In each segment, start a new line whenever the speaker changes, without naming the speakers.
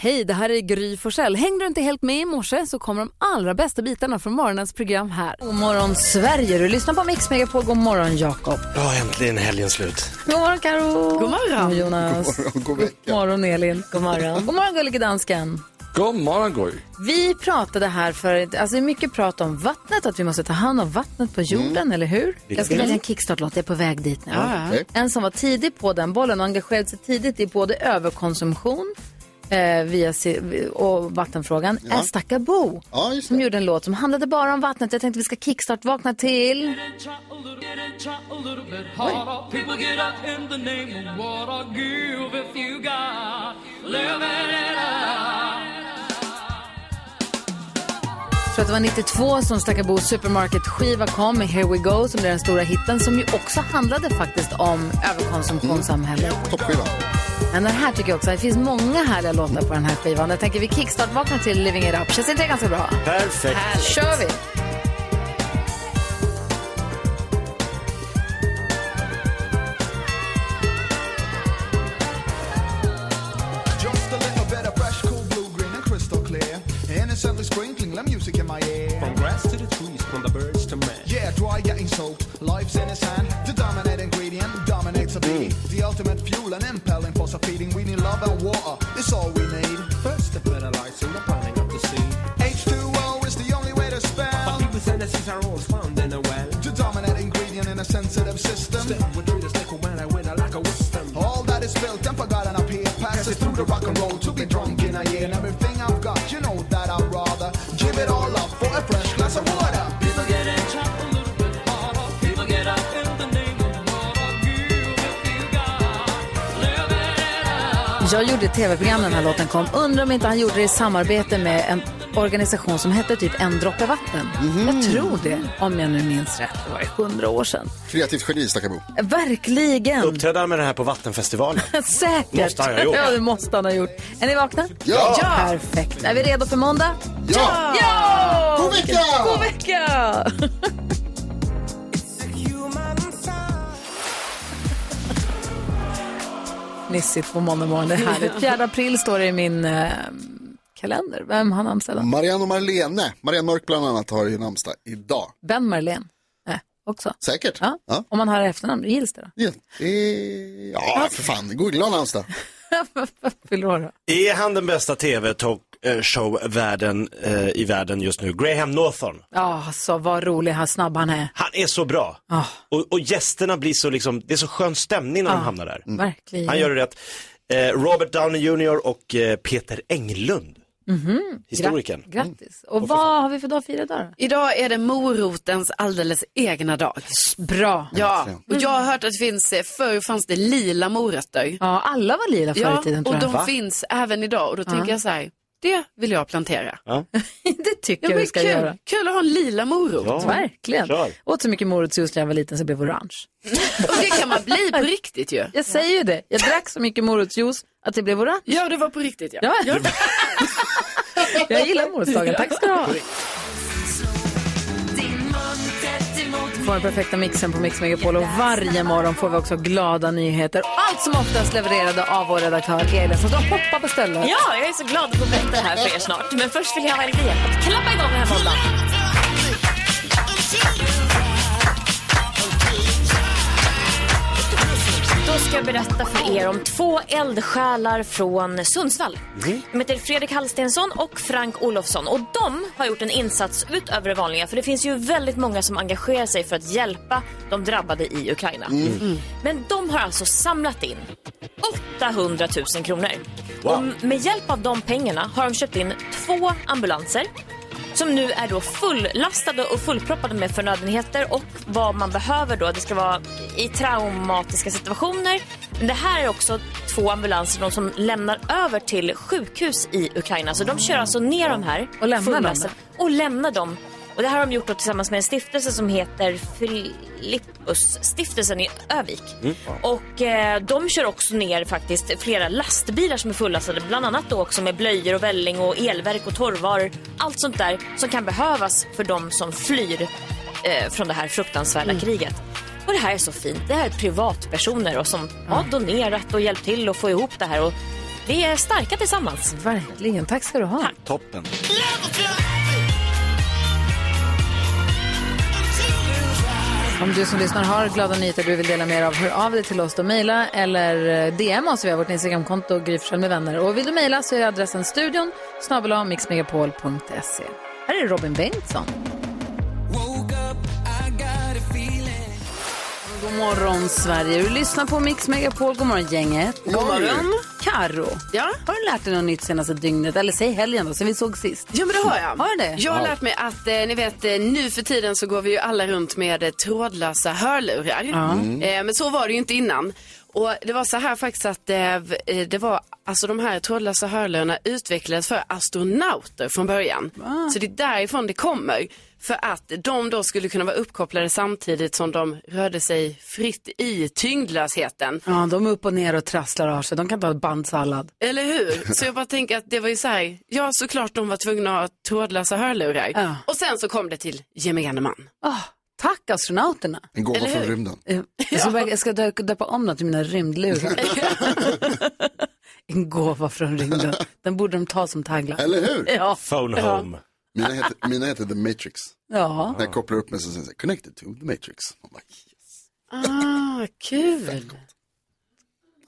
Hej, det här är Gry Forssell. Hängde du inte helt med i morse så kommer de allra bästa bitarna från morgonens program här. God morgon Sverige, du lyssnar på Mix Megapol. God morgon Jakob.
Ja, äntligen helgen slut.
God morgon Karo.
God morgon.
Jonas.
God morgon, god
God morgon Elin. God morgon. God morgon gullige dansken.
God morgon Gry.
Vi pratade här för, alltså det är mycket prat om vattnet, att vi måste ta hand om vattnet på
Mm.
jorden, eller hur? Jag ska
Mm.
välja en kickstart-låt, jag är på väg dit nu.
Ja, ja. Okej.
En som var tidig på den bollen och engagerade sig tidigt i både överkonsumtion eh, via si- och vattenfrågan är Stackabo. som gjorde en låt som handlade bara om vattnet. Jag tänkte vi ska kickstart-vakna till.
People get up in the name of what I give if you got living it up.
Jag tror att det var 92 som Stackabo Supermarket-skiva kom med Here We Go som blev den stora hitten som ju också handlade faktiskt om överkonsumtionssamhället.
Mm,
Toppskiva.
Men den här tycker jag också, det finns många härliga låtar på den här skivan. Jag tänker vi kickstart-vaknar till Living It Up. Känns inte det ganska bra?
Perfekt.
Här kör vi!
Just a little bit of fresh, cool blue, green and crystal clear. Innocently sprinkling the music in my ear. From grass to the trees, from the birds to man. Yeah, dry getting soaked. Life's in its hand. The dominant ingredient dominates a beat. The ultimate fuel and impelling force of feeding. We need love and water. It's all we need. First the fertilizing, the piling up the seed. H2O is the only way to spell. But people's energies are all found in a well. The dominant ingredient in a sensitive system. Step with treat us like a when I win, I like a wisdom. All that is built and forgotten up here. Passes through the rock and roll to be drunk in a year. And everything I've got, you know that I'd rather give it all up for a fresh glass of water.
People get in trouble a little bit harder. People get up in the name of what I give if you got living it up.
Jag gjorde ett tv-program när den här låten kom. Undrar om inte han gjorde det i samarbete med en organisation som hette typ En droppe vatten.
Mhm.
Jag tror det, om jag nu minns rätt. Det var ju hundra år sedan.
Kreativt geni, Stackabo.
Verkligen!
Uppträdde han med den här på Vattenfestivalen?
Säkert.
Måste han ha gjort.
Ja, det måste han ha gjort. Är ni vakna?
Ja. Ja.
Perfekt. Är vi redo för måndag?
Ja.
ja!
God vecka!
God vecka! Nissigt på måndag morgon. Det är härligt. 4 april står det i min eh, kalender. Vem har namnsdag idag?
Marianne och Marlene, Marianne Mörk bland annat, har ju namnsdag idag.
Ben Marlén. Nej, också.
Säkert.
Ja.
Ja.
Om man har efternamn, gills det då?
Ja, det- Eh, ja för fan. Googla har namnsdag.
Fyller år då?
Är han den bästa tv-show-världen eh, i världen just nu? Graham Northon.
Ja, så vad rolig, han snabb han är.
Han är så bra.
Ah.
Och, och gästerna blir så liksom, det är så skön stämning när de hamnar där.
Mm. Verkligen.
Han gör det rätt. Eh, Robert Downey Jr och eh, Peter Englund,
Mhm.
historikern.
Grattis. Och vad har vi för dag att fira idag då?
Idag är det morotens alldeles egna dag.
Bra.
Ja, och
Mm.
jag har hört att det finns, eh, förr fanns det lila morötter.
Ja, alla var lila förr
ja,
i tiden tror
och
jag.
de finns även idag och då
Ja.
tänker jag så här, det vill jag plantera.
det tycker
Ja,
jag
men
vi ska
kul.
göra.
Kul att ha en lila morot.
Verkligen. Åt så mycket morotsjuice när jag var liten så jag blev orange.
Och det kan man bli på riktigt ju.
Jag säger ju det. Jag drack så mycket morotsjuice att det blev orange.
Ja, det var på riktigt ja.
ja. jag gillar morotsdagen. Tack ska du ha. Får den perfekta mixen på Mix Megapol och varje morgon får vi också glada nyheter. Allt som oftast levererade av vår redaktör Elin som står och hoppar på stället.
Ja, jag är så glad att få berätta det här för er snart. Men först vill jag ha er hjälp att klappa igång den här måndagen. Då ska jag berätta för er om två eldsjälar från Sundsvall. De heter Fredrik Hallstensson och Frank Olofsson. Och de har gjort en insats utöver det vanliga. För det finns ju väldigt många som engagerar sig för att hjälpa de drabbade i Ukraina.
Mm.
Men de har alltså samlat in 800 000 kronor.
Wow.
Och med hjälp av de pengarna har de köpt in två ambulanser som nu är då fullastade och fullproppade med förnödenheter och vad man behöver då. Det ska vara i traumatiska situationer. Men det här är också två ambulanser de som lämnar över till sjukhus i Ukraina. Så de kör alltså ner de här
Och lämnar dem
fullastade- och lämnar dem. Och det här har de gjort då tillsammans med en stiftelse som heter Filippusstiftelsen i Övik. Och eh, de kör också ner faktiskt flera lastbilar som är fullastade. Bland annat då också med blöjor och välling och elverk och torrvaror. Allt sånt där som kan behövas för de som flyr eh, från det här fruktansvärda
Mm.
kriget. Och det här är så fint. Det här är privatpersoner och som har donerat och hjälpt till att få ihop det här. Och Vi är starka tillsammans.
Verkligen. Tack ska du ha.
Toppen.
Om du som lyssnar har glada nyheter du vill dela med dig av, hör av dig till oss. Då mejla eller eh, DM oss via vårt Instagramkonto, Gry Forssell med vänner. Och vill du mejla så är adressen studion snabel-a mixmegapol.se. Här är Robin Bengtsson. God morgon, Sverige. Du lyssnar på Mix Megapol. God morgon, gänget.
God morgon.
Karo, ja? har du lärt dig något nytt senaste dygnet? Eller säg helgen då, sen vi såg sist.
Ja, men det har jag.
Har du det?
Jag har lärt mig att eh, ni vet eh, nu för tiden så går vi ju alla runt med eh, trådlösa hörlurar.
Ja. Mm.
Eh, men så var det ju inte innan. Och det var så här faktiskt att eh, v- eh, det var, alltså de här trådlösa hörlurarna utvecklades för astronauter från början. Så det är därifrån det kommer. För att de då skulle kunna vara uppkopplade samtidigt som de rörde sig fritt i tyngdlösheten.
Ja, de är upp och ner och trasslar av sig. De kan ta bandsallad.
Eller hur? Så jag bara tänker att det var ju så här, ja såklart de var tvungna att ha trådlösa hörlurar.
Ja.
Och sen så kom det till gemene man.
Ah, tack astronauterna.
En gåva
Eller
från
hur?
rymden.
Eh, Jag ska, bara- jag ska dö- döpa om dem till mina rymdlurar. en gåva från rymden. Den borde de ta som tagline.
Eller hur?
Ja. Ah.
Phone home.
Mina heter, mina heter The Matrix.
ja.
När jag kopplar upp mig så säger jag connected to The Matrix. Man bara,
Ah, kul.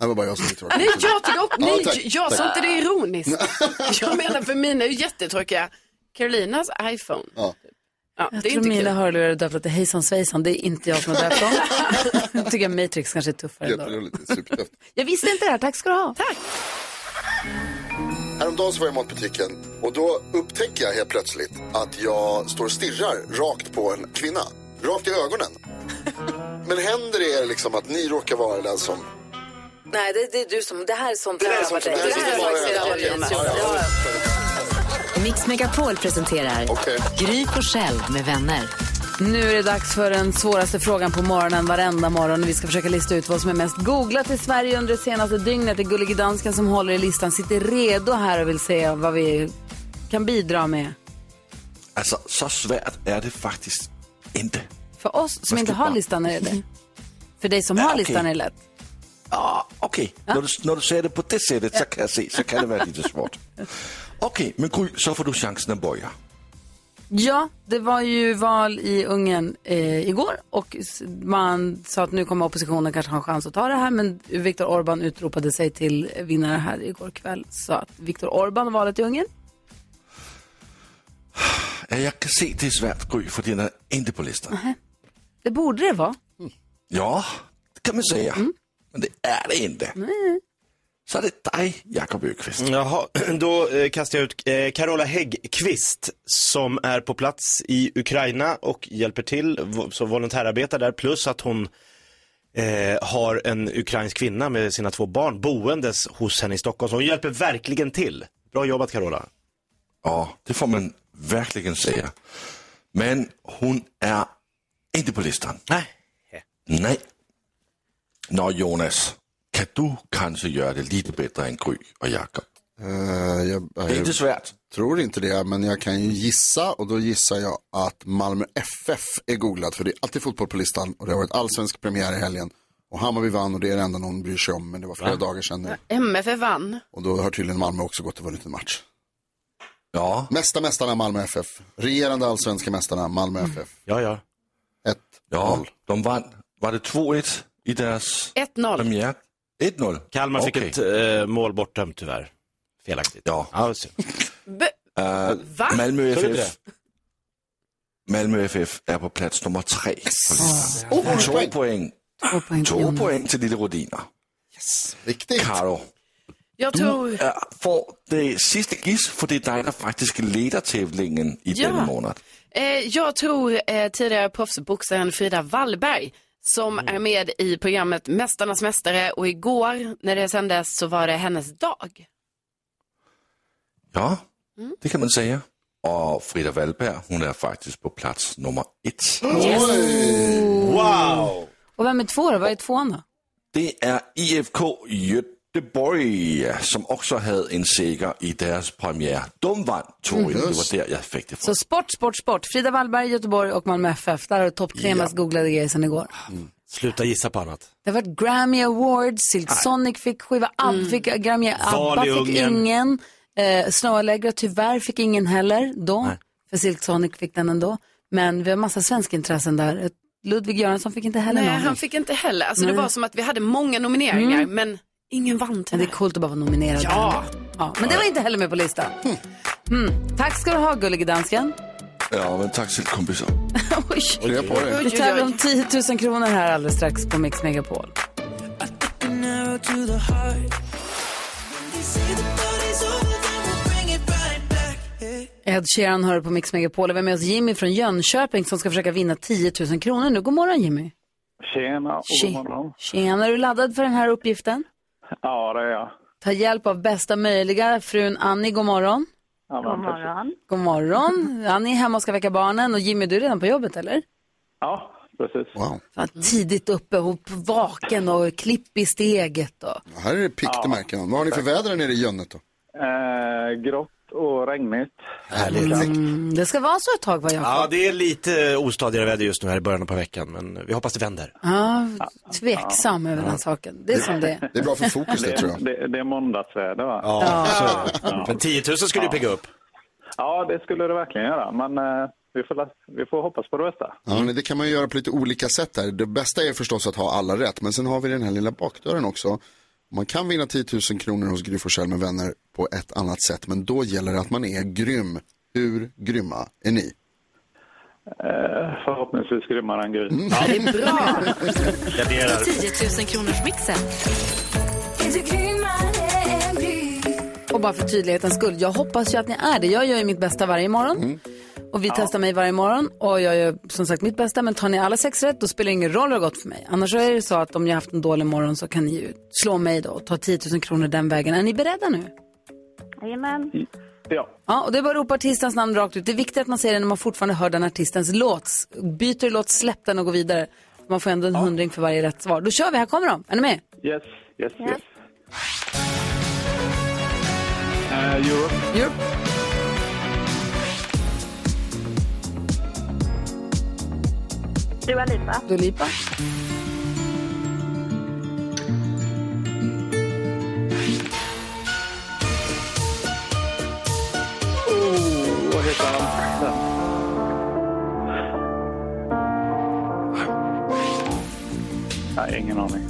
Det var bara jag som tyckte det var
Nej,
konstigt.
jag tycker också, nej,
tack,
jag sa inte det ironiskt. Jag menar för mina är ju jättetråkiga. Carolinas iPhone.
Ja.
Ja, det är
Jag tror
inte kul.
mina hörlurar är döpta till Hejsan Svejsan. Det är inte jag som har döpt dem. tycker jag Matrix kanske är tuffare ändå.
Jätteroligt, det är supertufft.
Jag visste inte det här. Tack ska du ha.
Häromdagen så var jag i matbutiken och då upptäcker jag helt plötsligt att jag står och stirrar rakt på en kvinna. Rakt i ögonen. Men händer det er liksom att ni råkar vara den som...
Nej, det, det är du som... Det här är sånt
Det här är sånt som- det här är sånt som-
faktiskt-
Okej, ja, ja, ja.
Mix Megapol presenterar
Okej.
Gry på själv med vänner.
Nu är det dags för den svåraste frågan på morgonen varenda morgon. Vi ska försöka lista ut vad som är mest googlat i Sverige under det senaste dygnet. Det är Gullige Dansken som håller i listan. Sitter redo här och vill se vad vi kan bidra med.
Altså, Alltså, så svært er det faktisk ikke.
För oss som
Vad
inte
ska
har
jag-
listan är det det För dig som
Ja,
har
okej.
listan är det lätt.
Ah, okay. Når, du, når du ser det på det sættet, så kan jeg se, så kan det være lidt småt. Okay, men Gry, så får du chancen at bøje.
Ja, det var ju val i Ungern eh, igår och s- man sa att nu kommer oppositionen kanske ha en chans att ta det här men Viktor Orbán utropade sig till vinnare här igår kväll. Så att Viktor Orbán har valet i Ungern.
Ja, jeg kan se, det er svært, Gry, fordi den er ikke på listen.
Det borde det vara.
Ja, det kan man sige. Men det er det ikke. Så er det dig, Jakob Økvist.
Jaha, då eh, kastar jag ut eh, Carola Häggkvist som är på plats i Ukraina och hjälper till vo- som volontärarbetare där plus att hon eh, har en ukrainsk kvinna med sina två barn boendes hos henne i Stockholm. Så hon hjälper verkligen till. Bra jobbat Carola.
Ja, det får man verkligen säga. Men hon är inte på listan.
Nej.
Nej. Nå Jonas, kan du kanske göra det lite bättre än Gry och Jakob?
Eh, jag,
Det är inte svårt.
tror inte det, men jag kan ju gissa och då gissar jag att Malmö FF är googlat för det är alltid fotboll på listan och det har varit allsvensk premiär i helgen. Och Hammarby vann och det är det enda någon bryr sig om, men det var flera dagar sedan nu.
MFF vann.
Och då har tydligen Malmö också gått och vunnit en match.
Ja,
Mästa mästarna Malmö FF. Regerande allsvenska mästarna Malmö
Mm.
FF.
Ja, ja.
Ett.
ja, de vann. Var det 2-1 i deras
1-0.
premiär? 1-0?
Kalmar
Okej.
fick ett eh, mål bortdömt tyvärr. Felaktigt.
Ja.
ja synd.
B-
Eh,
Va?
Malmö
Så är det
FF. Malmö FF är på plats nummer tre på listan.
Oh,
Två
poäng.
poäng.
Två poäng till
Två
Jonas.
poäng till Lille Rodiner.
Viktigt.
Karo.
Jag tror...
Ja, får det sidste gis, for det er dig, der faktisk leder tævlingen i
Ja.
denne måned.
Eh, jag tror eh, tidigare proffsboxaren Frida Wallberg som
Mm.
är med i programmet Mästarnas mästare och igår när det sändes så var det hennes dag.
Ja,
Mm.
det kan man sige. Og Frida Valberg, hun er faktisk på plads nummer et.
Wow!
Och vem är två då? Vad är tvåan då?
Det er IFK Göteborg, som også havde en sikker i deres premiere. Dum vandt 2 Det var der, jeg fik det fra.
Mm.
Så sport, sport, sport. Frida Wallberg, Göteborg och Malmö FF. Där har du toppkremas googlade grejer sedan igår.
Sluta gissa på annat.
Det har varit Grammy Awards, Silk Sonic fick skiva, ABBA fick äh, Grammy,
Val
ABBA
i
fick
Ungern.
ingen, eh, Snow Allegra tyvärr fick ingen heller då, för Silk Sonic fick den ändå. Men vi har massa svenska intressen där. Eh, Ludvig Göransson fick inte heller
Nej,
någon.
han fick inte heller. Alltså, det
Nej.
var som att vi hade många nomineringar,
Mm.
men ingen vann
Men det är
tyvärr.
coolt att bara vara nominerad.
Ja.
ja! Men det var inte heller med på listan. Mm. Tack ska du ha, gullige dansken.
Ja, men tack till kompisar.
Oj.
Krya på dig.
Vi tävlar om 10 000 kronor här alldeles strax på Mix Megapol. Ed Sheeran hör på Mix Megapol och vi har med oss Jimmy från Jönköping som ska försöka vinna 10 000 kronor nu. God morgon Jimmy.
Tjena och
Tje-
god morgon.
Tjena, är du laddad för den här uppgiften?
Ja, det är jag.
Ta hjälp av bästa möjliga. Frun Annie, god morgon.
Ja, men precis.
God morgon. Annie är hemma och ska väcka barnen och Jimmy, du är redan på jobbet eller?
Ja, precis.
Wow.
Fan, tidigt uppe och vaken och klipp i steget. Och.
Här är det piggt i märken. Vad har ni för väder nere i Jönnet då?
Eh, grått och regnigt.
Mm, det ska vara så ett tag vad jag
Ja, det är lite ostadigare väder just nu här i början på veckan, men vi hoppas det vänder.
Ja, tveksam över den saken. Det är som det är.
det Det, det är måndagsväder, va?
Ja, så är det. Men 10 000 skulle ju pigga upp.
Ja, det skulle det verkligen göra. Men eh, vi, får, la- vi får hoppas på det bästa.
Ja, Mm, men det kan man ju göra på lite olika sätt här. Det bästa är förstås att ha alla rätt, men sen har vi den här lilla bakdörren också. Man kan vinna 10 000 kronor hos Gry Forssell med vänner på ett annat sätt, men då gäller det att man är grym. Hur grymma är ni?
Eh, förhoppningsvis grymmare än
Mm.
Gud.
Det är bra.
Garderar.
10 000 kronors mixen.
Och bara för tydlighetens skull, jag hoppas ju att ni är det. Jag gör ju mitt bästa varje morgon. Och vi testar mig varje morgon och jag gör som sagt mitt bästa. Men tar ni alla sex rätt då spelar det ingen roll hur det har gått för mig. Annars så är det så att om jag har haft en dålig morgon så kan ni ju slå mig då och ta 10 000 kronor den vägen. Är ni beredda nu?
Jajamän.
Ja.
Ja, och det är bara att ropa artistens namn rakt ut. Det är viktigt att man säger det när man fortfarande hör den artistens låt. Byter låt, släpp den och gå vidare. Man får ändå en hundring för varje rätt svar. Då kör vi, här kommer de. Är ni med?
Yes, yes, yes. Eh, Europe.
Europe.
Dua Lipa.
Dua Lipa.
Oh, vad heter han? Nej, ingen aning.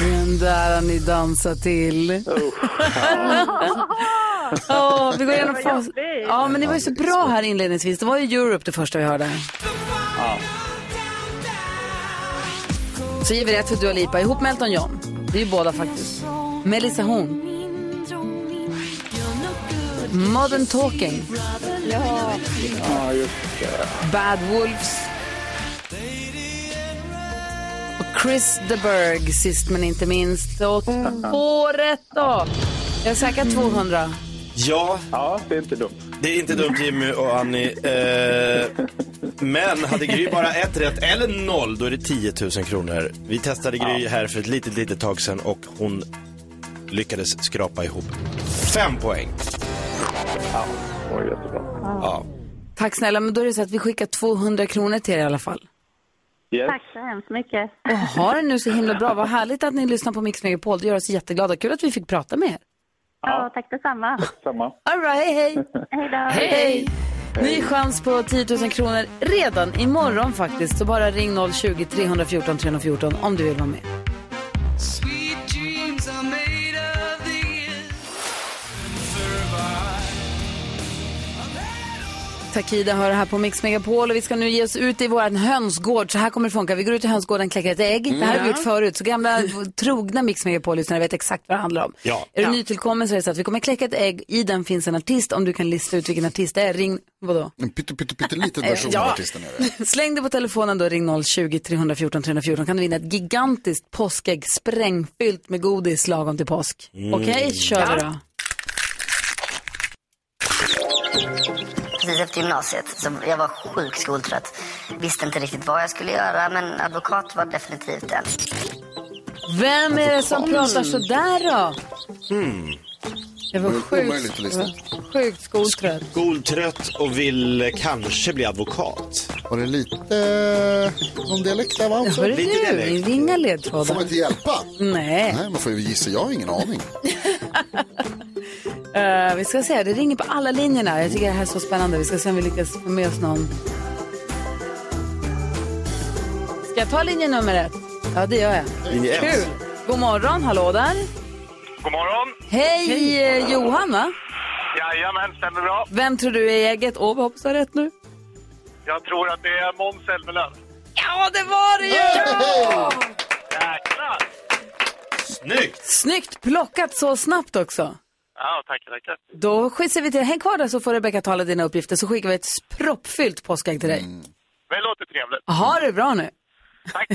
Den där har ni dansat till. Åh, vi går igenom
Det var
fas...
jobbigt.
Ja, men det var ju så bra här inledningsvis. Det var ju Europe det första vi hörde.
Ja.
Så ger vi rätt för Dua Lipa ihop med Elton John. Det är ju båda faktiskt. Melissa Horn. Modern Talking.
Ja.
Ja, Ah, just uh, det.
Bad Wolves. Och Chris de Burgh sist men inte minst. Och två rätt då. Jag är säker 200.
Ja.
ja, det är inte dumt.
Det är inte dumt Jimmy och Annie. Eh, men hade Gry bara ett rätt eller noll, då är det 10 000 kronor. Vi testade Gry här för ett litet, litet tag sedan och hon lyckades skrapa ihop fem poäng.
Ja, det var jättebra.
Ja.
Tack snälla, men då är det så att vi skickar 200 kronor till er i alla fall.
Yes.
Tack så hemskt mycket.
Och ha det nu så himla bra. Vad härligt att ni lyssnar på Mix Megapol. Det gör oss jätteglada. Kul att vi fick prata med er.
Ja, tack detsamma.
Samma.
All right, hej, hej.
Hej då.
Ny chans på 10 000 kronor redan imorgon faktiskt. Så bara ring 020-314 314 om du vill vara med. Takida hör här på Mix Megapol och vi ska nu ge oss ut i vår hönsgård. Så här kommer det funka. Vi går ut i hönsgården och kläcker ett ägg. Det här har vi gjort förut. Så gamla trogna Mix Megapol-lyssnare vet exakt vad det handlar om.
Ja.
Är du nytillkommen så är det så att vi kommer kläcka ett ägg. I den finns en artist. Om du kan lista ut vilken artist det är, ring... Vadå?
En pytte, pytte, pytteliten version
Eh, Ja.
av artisten är det.
Släng dig på telefonen då, ring 020-314 314. Kan du vinna ett gigantiskt påskägg sprängfyllt med godis lagom till påsk.
Mm.
Okej, kör vi då.
Precis efter gymnasiet, så jag var sjukt skoltrött. Visste inte riktigt vad jag skulle göra, men advokat var definitivt en.
Alltså,
Vem är det som
Mm.
pratar sådär då?
Mm.
Det var sjukt, det var sjukt skoltrött.
Skoltrött och vill kanske bli advokat.
Var det lite Eh, någon dialekt där va? Alltså?
Hörru du, inga ledtrådar.
Får man inte hjälpa?
Nej.
Nej, man får ju gissa. Jag har ingen aning.
Eh, vi ska se, det ringer på alla linjerna. Jag tycker det här är så spännande. Vi ska se om vi lyckas få med oss någon. Ska jag ta linje nummer ett? Ja, det gör jag.
Linje ett.
Kul. God morgon, hallå där.
God morgon!
Hej, eh, Johan va?
Jajamän, stämmer bra.
Vem tror du är eget? Åh, vi hoppas du har rätt nu.
Jag tror att det är Måns Zelmerlöw.
Ja, det var det ju!
Snyggt!
Snyggt plockat så snabbt också.
Ja, tackar, tackar.
Då skissar vi till, häng kvar där så får Rebecka tala dina uppgifter så skickar vi ett proppfyllt påskägg till dig.
Mm. Det låter trevligt.
Ha det bra nu.
Tack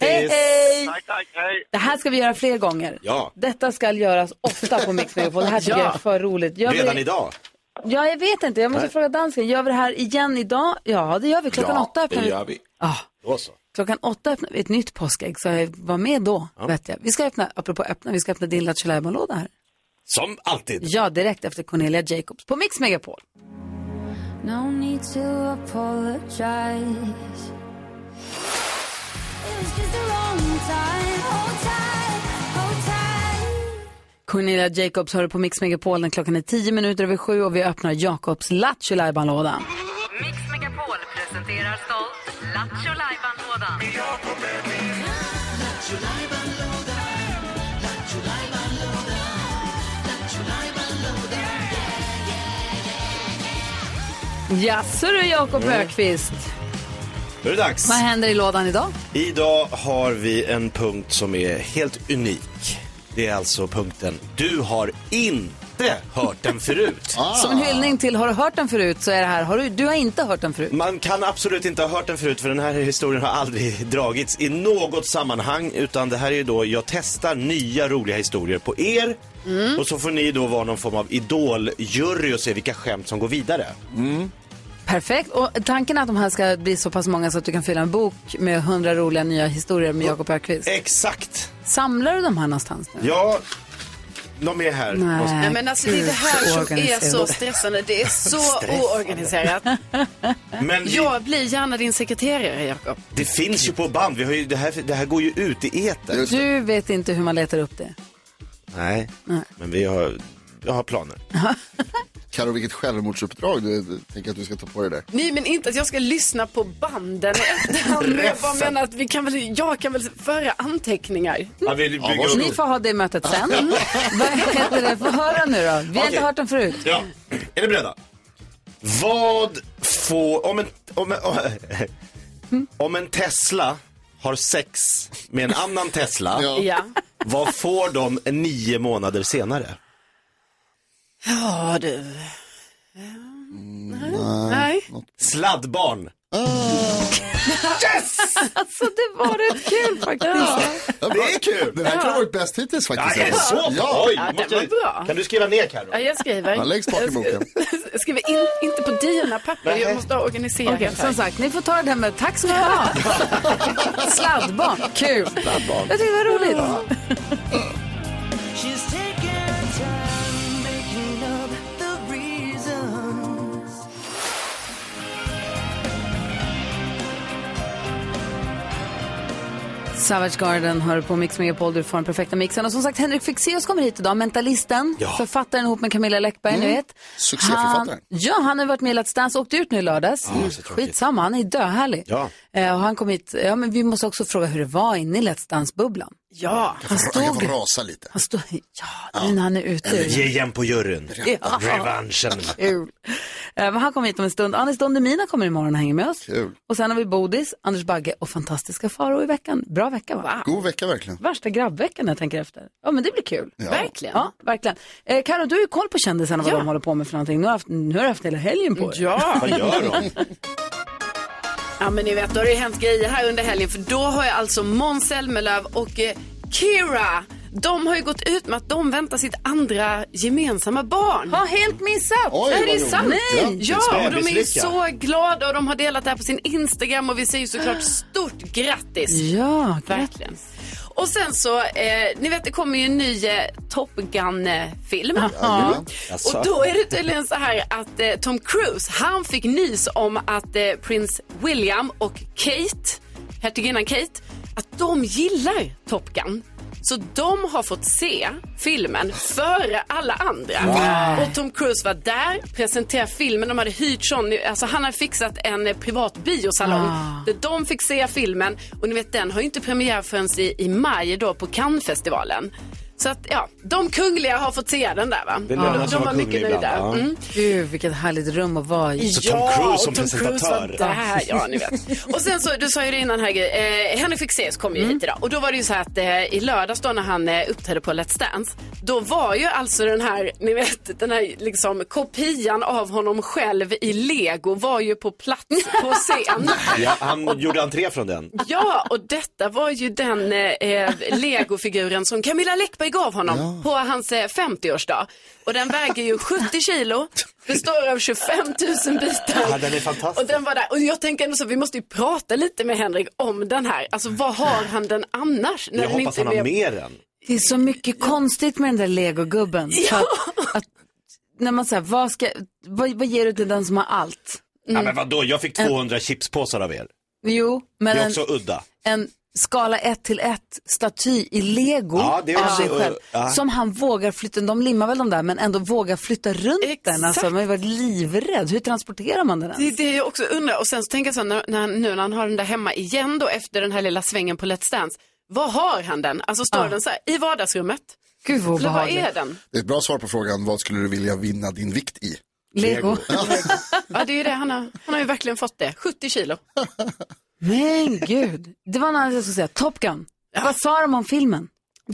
Hej, hej!
Tack, tack, hej!
Det här ska vi göra fler gånger.
Ja.
Detta ska göras ofta på Mix Megapol. Det här tycker
Ja.
jag är för roligt. Gör vi-
Redan idag.
Ja, jag vet inte. Jag måste
Nej.
fråga dansken. Gör vi det här igen idag? Ja, det gör vi. Klockan åtta öppnar vi.
vi.
Ah.
Då så.
Klockan åtta öppnar vi ett nytt påskägg, så jag var med då. Vet jag. Vi ska öppna, apropå öppna, vi ska öppna din Lattjo låda här.
Som alltid.
Ja, direkt efter Cornelia Jacobs på Mix Megapol.
No need to apologize.
Cornelia Jacobs hör på Mix Megapol när klockan är tio minuter över sju och vi öppnar Jakobs Lattjo låda
Mix Megapol presenterar stolt Lattjo Lajban-lådan.
Jaså du, Jakob
Mm.
Högqvist.
Då är det dags.
Vad händer i lådan idag?
Idag har vi en punkt som är helt unik. Det är alltså punkten Du har inte hört den förut.
Som en hyllning till Har du hört den förut? så är det här Har du, du har inte hört den förut.
Man kan absolut inte ha hört den förut för den här historien har aldrig dragits i något sammanhang utan det här är ju då jag testar nya roliga historier på er
Mm.
och så får ni då vara någon form av idoljury och se vilka skämt som går vidare.
Perfekt. Och tanken är att de här ska bli så pass många så att du kan fylla en bok med hundra roliga nya historier med Jakob Högqvist.
Exakt.
Samlar du de här någonstans nu?
Ja, de är här.
Nej.
Nej, men alltså det är det här som är
Oorganiserat.
så stressande. Det är så
Stressande.
oorganiserat.
Men vi-
Jag blir gärna din sekreterare, Jakob.
Det finns ju på band. Vi har ju, det, här, det här går ju ut i etern.
Du vet inte hur man letar upp det.
Nej,
Nej.
men vi har, jag har planer.
Karo, vilket självmordsuppdrag du, du tänker att du ska ta på dig där.
Nej, men inte att jag ska lyssna på banden i efterhand. Men Jag bara menar att vi kan väl, jag kan väl föra anteckningar.
Ja, vi bygger upp-
Ni får ha det mötet sen. Vad heter det? Få höra nu då. Vi har inte
Okej.
hört den förut.
Ja, är ni beredda? Vad får, om en, om en, om en Tesla har sex med en annan Tesla,
Ja. Ja.
vad får de nio månader senare?
Ja, du. Nej.
Sladdbarn.
Yes!
alltså det var rätt kul faktiskt.
Det är kul!
Den här kan ha varit bäst hittills faktiskt.
Ja, är det så?
Ja.
Oj,
Ja, det
måste-
var bra.
Kan du skriva ner Carro?
Ja, jag skriver.
Ja, längst bak i boken.
Jag skriver in, inte på dina papper. Jag måste ha organiserat.
Okej, som sagt, ni får ta det här med tack så mycket. Sladdbarn, kul.
Sladdbarn.
Jag tycker det var roligt. Savage Garden hör på Mix Megapol, du får den perfekta mixen. Och som sagt, Henrik Fexeus kommer hit idag, mentalisten,
Ja.
författaren ihop med Camilla Läckberg,
Mm.
ni vet.
Succéförfattaren.
Han, ja, han har varit med i Let's Dance, åkte ut nu i lördags.
Ja, så tråkigt.
Skitsamma, han är döhärlig.
Ja.
Eh, och han kom hit, ja men vi måste också fråga hur det var inne i Let's Dance-bubblan.
Ja.
Han kan få rasa lite.
Han står, ja, nu när han är ute.
Eller ge igen på juryn.
Ja.
Revanschen.
Kul. Eh, men han kommer hit om en stund. Anis Don Demina kommer imorgon och hänger med oss.
Kul.
Och sen har vi Bodis, Anders Bagge och fantastiska Faro i veckan. Bra vecka va?
God vecka verkligen.
Värsta grabbveckan när jag tänker efter. Ja men det blir kul.
Ja.
Verkligen.
Ja, verkligen. Eh, Karo, du har ju koll på kändisarna vad de håller på med för någonting. Nu har, du haft, nu har du haft hela helgen på Mm. dig.
Ja. Vad gör de? Ja men ni vet, då har det ju hänt grejer här under helgen för då har ju alltså Måns Zelmerlöw och eh, Kira, de har ju gått ut med att de väntar sitt andra gemensamma barn.
Har helt missat!
Oj,
är
vad
det
roligt.
sant?
Grattis.
Ja, och de är ju
Bebislycka.
så glada och de har delat det här på sin Instagram och vi säger ju såklart stort grattis.
Ja,
verkligen. Och sen så, eh, ni vet det kommer ju en ny eh, Top Gun-film.
Ja.
Och då är det tydligen så här att eh, Tom Cruise, han fick nys om att eh, prins William och Kate, hertiginnan Kate, att de gillar Top Gun. Så de har fått se filmen före alla andra.
Wow.
Och Tom Cruise var där, presenterade filmen. De hade hyrt sån, alltså han hade fixat en eh, privat biosalong
Ah.
där de fick se filmen. Och ni vet den har ju inte premiär förrän i, i maj då på Cannesfestivalen. Så att ja, de kungliga har fått se den där va?
Det
de de
lönar sig att
var
vara
mycket
kunglig
nöjda.
ibland, ja.
Mm.
Gud, vilket härligt rum att vara i.
Så Tom Ja, Cruise som och Tom Cruise presentatör. var där, ja, ni vet. Mm. Och sen så, du sa ju det innan här eh, Henrik Fexeus kom
Mm.
ju hit idag och då var det ju så här att eh, i lördags då när han eh, uppträdde på Let's Dance, då var ju alltså den här, ni vet, den här liksom kopian av honom själv i lego var ju på plats på scen.
Ja, han gjorde entré från den.
Ja, och detta var ju den eh, eh, legofiguren som Camilla Läckberg gav honom på hans eh, 50-årsdag. Och den väger ju 70 kilo, består av 25 000 bitar.
Ja, den är fantastisk.
Och den var där. Och jag tänker ändå så, vi måste ju prata lite med Henrik om den här. Alltså vad har han den annars?
Jag
den
hoppas han har med den.
Det är så mycket konstigt med den där legogubben. Så Att, att, när man säger, vad, ska, vad, vad ger du till den som har allt?
Ja, men vadå, jag fick 200 chipspåsar av er.
Jo,
Det
Mm. men
är
en,
också udda.
en skala 1 till 1 staty i lego
Ja, det är
av
också-
sig själv.
ja.
Som han vågar flytta, de limmar väl de där, men ändå vågar flytta runt den. Alltså, man har ju varit livrädd. Hur transporterar man den ens?
Det är det jag också undrar. Och sen så tänker jag så här, när, när, nu när han har den där hemma igen då efter den här lilla svängen på Let's Dance. Vad har han den? Alltså står
Ja.
den så här i vardagsrummet?
Gud vad
Eller vad
obehagligt.
är den?
Det är ett bra svar på frågan, vad skulle du vilja vinna din vikt i?
Lego.
Ja, det är ju det. Han har, han har ju verkligen fått det. 70 kilo.
Men gud, det var något annat jag skulle säga. Top Gun. Vad sa de om filmen?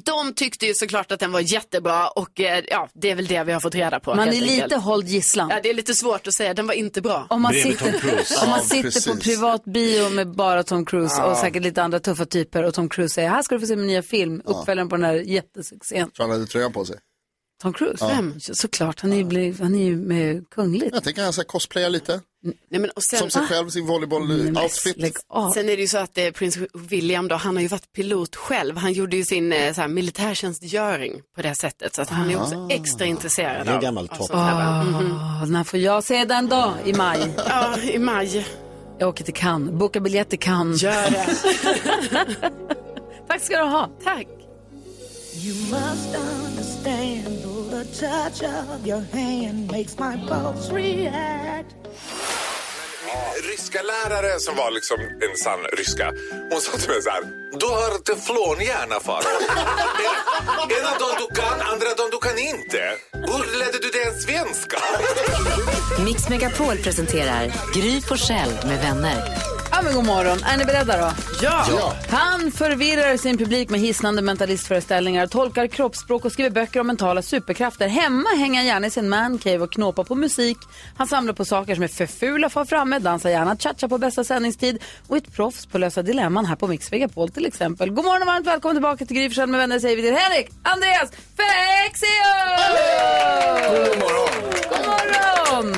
De tyckte ju såklart att den var jättebra och eh, ja, det är väl det vi har fått reda på.
Man
helt
är lite
enkelt.
hålld gisslan.
Ja, det är lite svårt att säga. Den var inte bra.
Om man sitter, om man sitter på privat bio med bara Tom Cruise
Ja.
och säkert lite andra tuffa typer och Tom Cruise säger här ska du få se min nya film,
Ja.
uppföljaren på den här jättesuccén.
Tror han hade tröjan på sig?
Tom Cruise?
Ja.
Vem? Såklart, han är ju, bli- han är ju med kungligt.
Jag tänker han ska cosplaya lite.
Mm. Nej, men och sen-
Som sig
Ah.
själv, sin volleyboll-outfit.
Sen är det ju så att eh, prins William då, han har ju varit pilot själv. Han gjorde ju sin eh, så här, militärtjänstgöring på det sättet. Så att han är
Ah.
också extra intresserad
Det är en
av-
gammal
av
topp.
sånt här, va? Mhm.
Åh, när får jag se den då? I maj?
Ja, i maj.
Jag åker till Cannes, boka biljett till Cannes.
Gör det.
Tack ska du ha.
Tack.
You must understand though the touch of your hand makes my pulse react.
ryska lärare som var liksom en sann ryska. Hon sa till mig så här. Du har teflonhjärna Farao. En- Ena dagen du kan, andra dagen du kan inte. Hur lärde du dig en svenska?
Mix Megapol presenterar Gry Forssell med vänner.
Ja, men god morgon. Är ni beredda då?
Ja. Ja.
Han förvirrar sin publik med hisnande mentalistföreställningar, tolkar kroppsspråk och skriver böcker om mentala superkrafter. Hemma hänger han gärna i sin mancave och knåpar på musik. Han samlar på saker som är för fula för framme, dansar gärna cha-cha på bästa sändningstid och är ett proffs på att lösa dilemman här på Mix Megapol till exempel. God morgon och varmt välkommen tillbaka till Gry Forssell med vänner säger vi till Henrik, Andreas, Fexeus! God morgon! God morgon!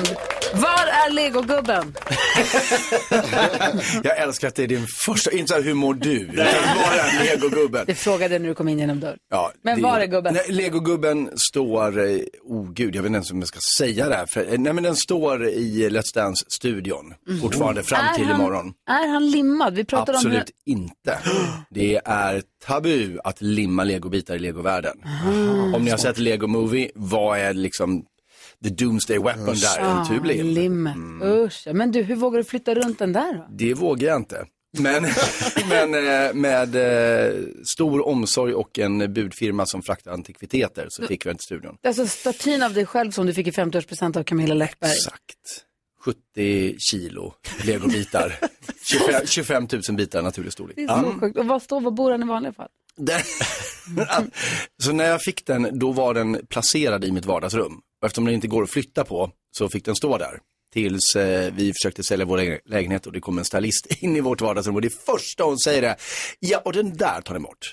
Var är legogubben?
Jag älskar att det är din första, inte så här, hur mår du? Utan Var är legogubben?
Det frågade jag när du kom in genom dörren.
Ja,
Men var är gubben?
Nej, legogubben står, eh, oh gud, jag vet inte ens om jag ska säga det här. För, eh, nej men den står i Let's Dance-studion fortfarande fram till
är han,
imorgon.
Är han limmad? Vi pratar om hur...
Absolut inte. Det är tabu att limma legobitar i legovärlden.
Mm.
Om ni har sett Lego Movie, vad är liksom the doomsday weapon där? En Mm.
Ah,
tublim.
Limmet. Usch. ja. Men du, hur vågar du flytta runt den där då?
Det vågar jag inte. Men, men eh, med eh, stor omsorg och en budfirma som fraktar antikviteter så fick vi den till studion.
Det är alltså statyn av dig själv som du fick i 50-årspresent av Camilla Läckberg.
Exakt. 70 kilo legobitar. 25, 25 000 bitar naturlig storlek.
Det är så
Mm.
sjukt. Och var står, var bor han i vanliga fall?
Där- så när jag fick den, då var den placerad i mitt vardagsrum. Och eftersom den inte går att flytta på så fick den stå där. Tills eh, vi försökte sälja vår lägen- lägenhet och det kom en stylist in i vårt vardagsrum och det första hon säger är ja och den där tar den bort.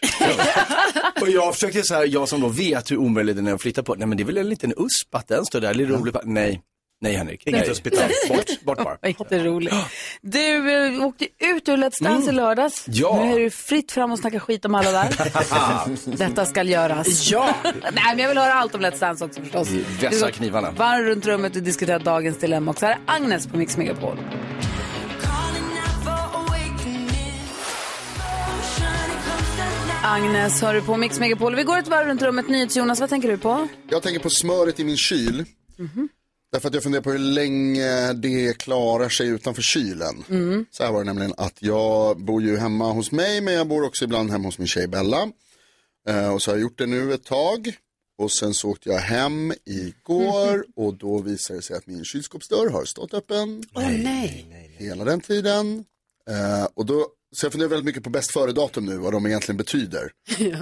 och jag försökte så här, jag som då vet hur omöjlig den är att flytta på, nej men det är väl en liten usp att den står där, lite rolig pa- nej. Nej, Henrik.
Inget
Nej.
hospital.
Bort, bort bara.
Jätteroligt. Du eh, åkte ut ur Let's Dance i lördags.
Ja.
Nu är du fritt fram och snacka skit om alla där. Detta ska göras.
Ja.
Nej, men jag vill höra allt om Let's Dance också förstås. Vi
Vässa
går
knivarna.
Varv runt rummet och diskuterar dagens dilemma också. Här är Agnes på Mix Megapol. Agnes, hör du på Mix Megapol? Vi går ett varv runt rummet. NyhetsJonas, vad tänker du på?
Jag tänker på smöret i min kyl.
Mhm.
Därför att jag funderar på hur länge det klarar sig utanför kylen.
Mm.
Så här var det nämligen att jag bor ju hemma hos mig men jag bor också ibland hemma hos min tjej Bella. Eh, och så har jag gjort det nu ett tag. Och sen så åkte jag hem
Mhm.
igår och då visade det sig att min kylskåpsdörr har stått öppen
Åh nej.
hela den tiden. Eh, och då, så jag funderar väldigt mycket på bäst före-datum nu, vad de egentligen betyder.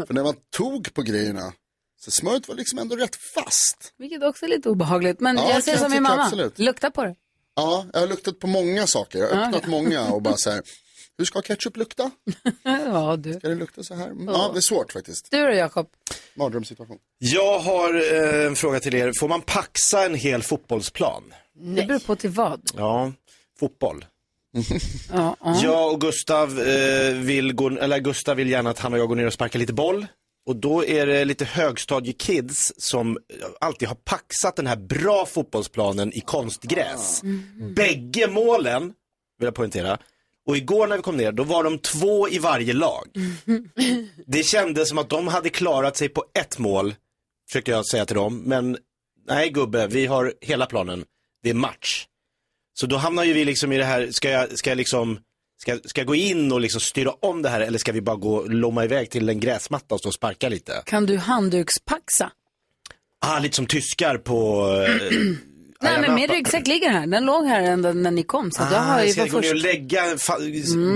För när man tog på grejerna, så smöret var liksom ändå rätt fast.
Vilket också är lite obehagligt. Men
Ja, det
jag säger
kan
som
jag
min
tycka,
mamma.
absolut.
Lukta på det.
Ja, jag har luktat på många saker. Jag har
Ja.
öppnat många och bara så här, hur ska ketchup lukta?
ja, du.
Ska det lukta så här? Mm, Ja, det är svårt faktiskt.
Du då Jakob?
Mardrömssituation.
Jag har eh, en fråga till er. Får man paxa en hel fotbollsplan?
Det beror på till vad.
Ja, fotboll.
Ja, ja.
Jag och Gustav, eh, vill gå, eller Gustav vill gärna att han och jag går ner och sparkar lite boll. Och då är det lite högstadiekids som alltid har paxat den här bra fotbollsplanen i konstgräs.
Mm.
Bägge målen, vill jag poängtera. Och igår när vi kom ner, då var de två i varje lag. Det kändes som att de hade klarat sig på ett mål, försökte jag säga till dem. Men nej gubbe, vi har hela planen. Det är match. Så då hamnar ju vi liksom i det här, ska jag, ska jag liksom, ska, ska jag gå in och liksom styra om det här eller ska vi bara gå och lomma iväg till en gräsmatta och stå och sparka lite?
Kan du handdukspaxa?
Ah, lite som tyskar på... eh,
Nej,
Ayia
men min
Napa.
ryggsäck ligger här. Den låg här ända när ni kom. Så att jag har
Ah,
ju
ska
var
jag gå ner och
först.
lägga, fa,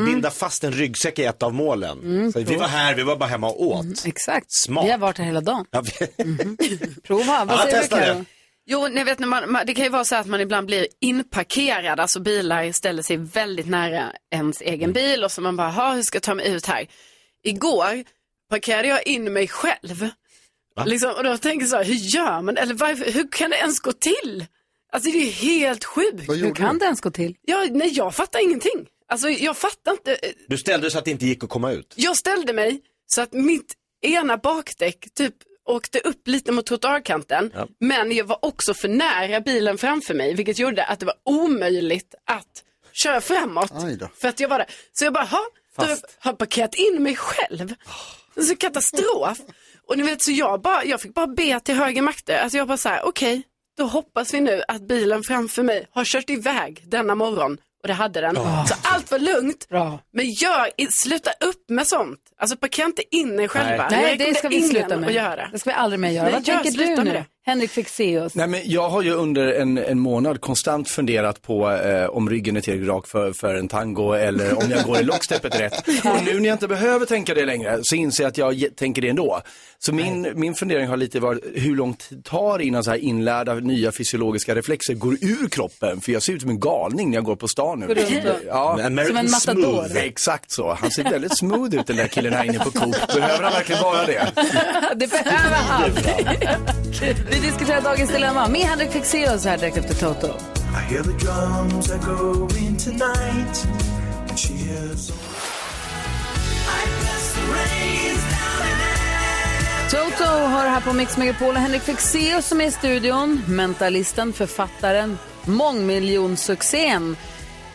binda fast en ryggsäck i ett av målen?
Mm,
så vi var här, vi var bara hemma och åt.
Exakt.
Smart.
Vi har varit här hela dagen. Mhm.
Ja, vi-
Prova, vad
Ja,
säger du
testa det.
Karo?
Jo, ni vet, när man, man, det kan ju vara så att man ibland blir inparkerad, alltså bilar ställer sig väldigt nära ens
Mm.
egen bil och så man bara, "Ha, hur ska jag ta mig ut här? Igår parkerade jag in mig själv.
Va?
Liksom, och då tänker jag så här, hur gör man? Eller varför, hur kan det ens gå till? Alltså det är ju helt sjukt.
Hur kan det ens gå till?
Ja, nej, jag fattar ingenting. Alltså jag fattar inte. eh,
Du ställde så att det inte gick att komma ut.
Jag ställde mig så att mitt ena bakdäck typ åkte upp lite mot trottoarkanten.
Ja.
Men jag var också för nära bilen framför mig, vilket gjorde att det var omöjligt att köra framåt. För att jag var där. Så jag bara, ha, då har jag- har jag parkerat in mig själv. Så katastrof. Och ni vet, så jag, bara, jag fick bara be till högre makter. Alltså jag bara så här, okej, då hoppas vi nu att bilen framför mig har kört iväg denna morgon. Och det hade den.
Ja.
Så allt var lugnt.
Bra.
Men gör, i- sluta upp med sånt. Alltså parkera inte in er själva. Jag
Nej, det
rekommenderar
ska vi
ingen
sluta med.
Att göra.
Det ska vi aldrig mer göra.
Nej,
vad
gör-
tänker
sluta
du nu?
med det.
Henrik fick se oss.
Nej, men jag har ju under en, en månad konstant funderat på eh, om ryggen är tillräckligt rak för, för en tango eller om jag går i locksteppet rätt. Och nu när jag inte behöver tänka det längre så inser jag att jag ge- tänker det ändå. Så min, min fundering har lite varit hur lång tid tar det innan så här inlärda nya fysiologiska reflexer går ur kroppen? För jag ser ut som en galning när jag går på stan nu.
Går runt och-
Ja.
Som en American matador. smooth.
Exakt så. Han ser väldigt smooth ut den där killen här inne på Coop. Behöver han verkligen vara det?
det behöver han. vi diskuterar dagens dilemma med Henrik fick se oss här direkt efter Toto.
I hear the drums are going tonight. And she hears.
Toto har det här på Mix Megapol och Henrik Fexeus som är i studion. Mentalisten, författaren, mångmiljonsuccén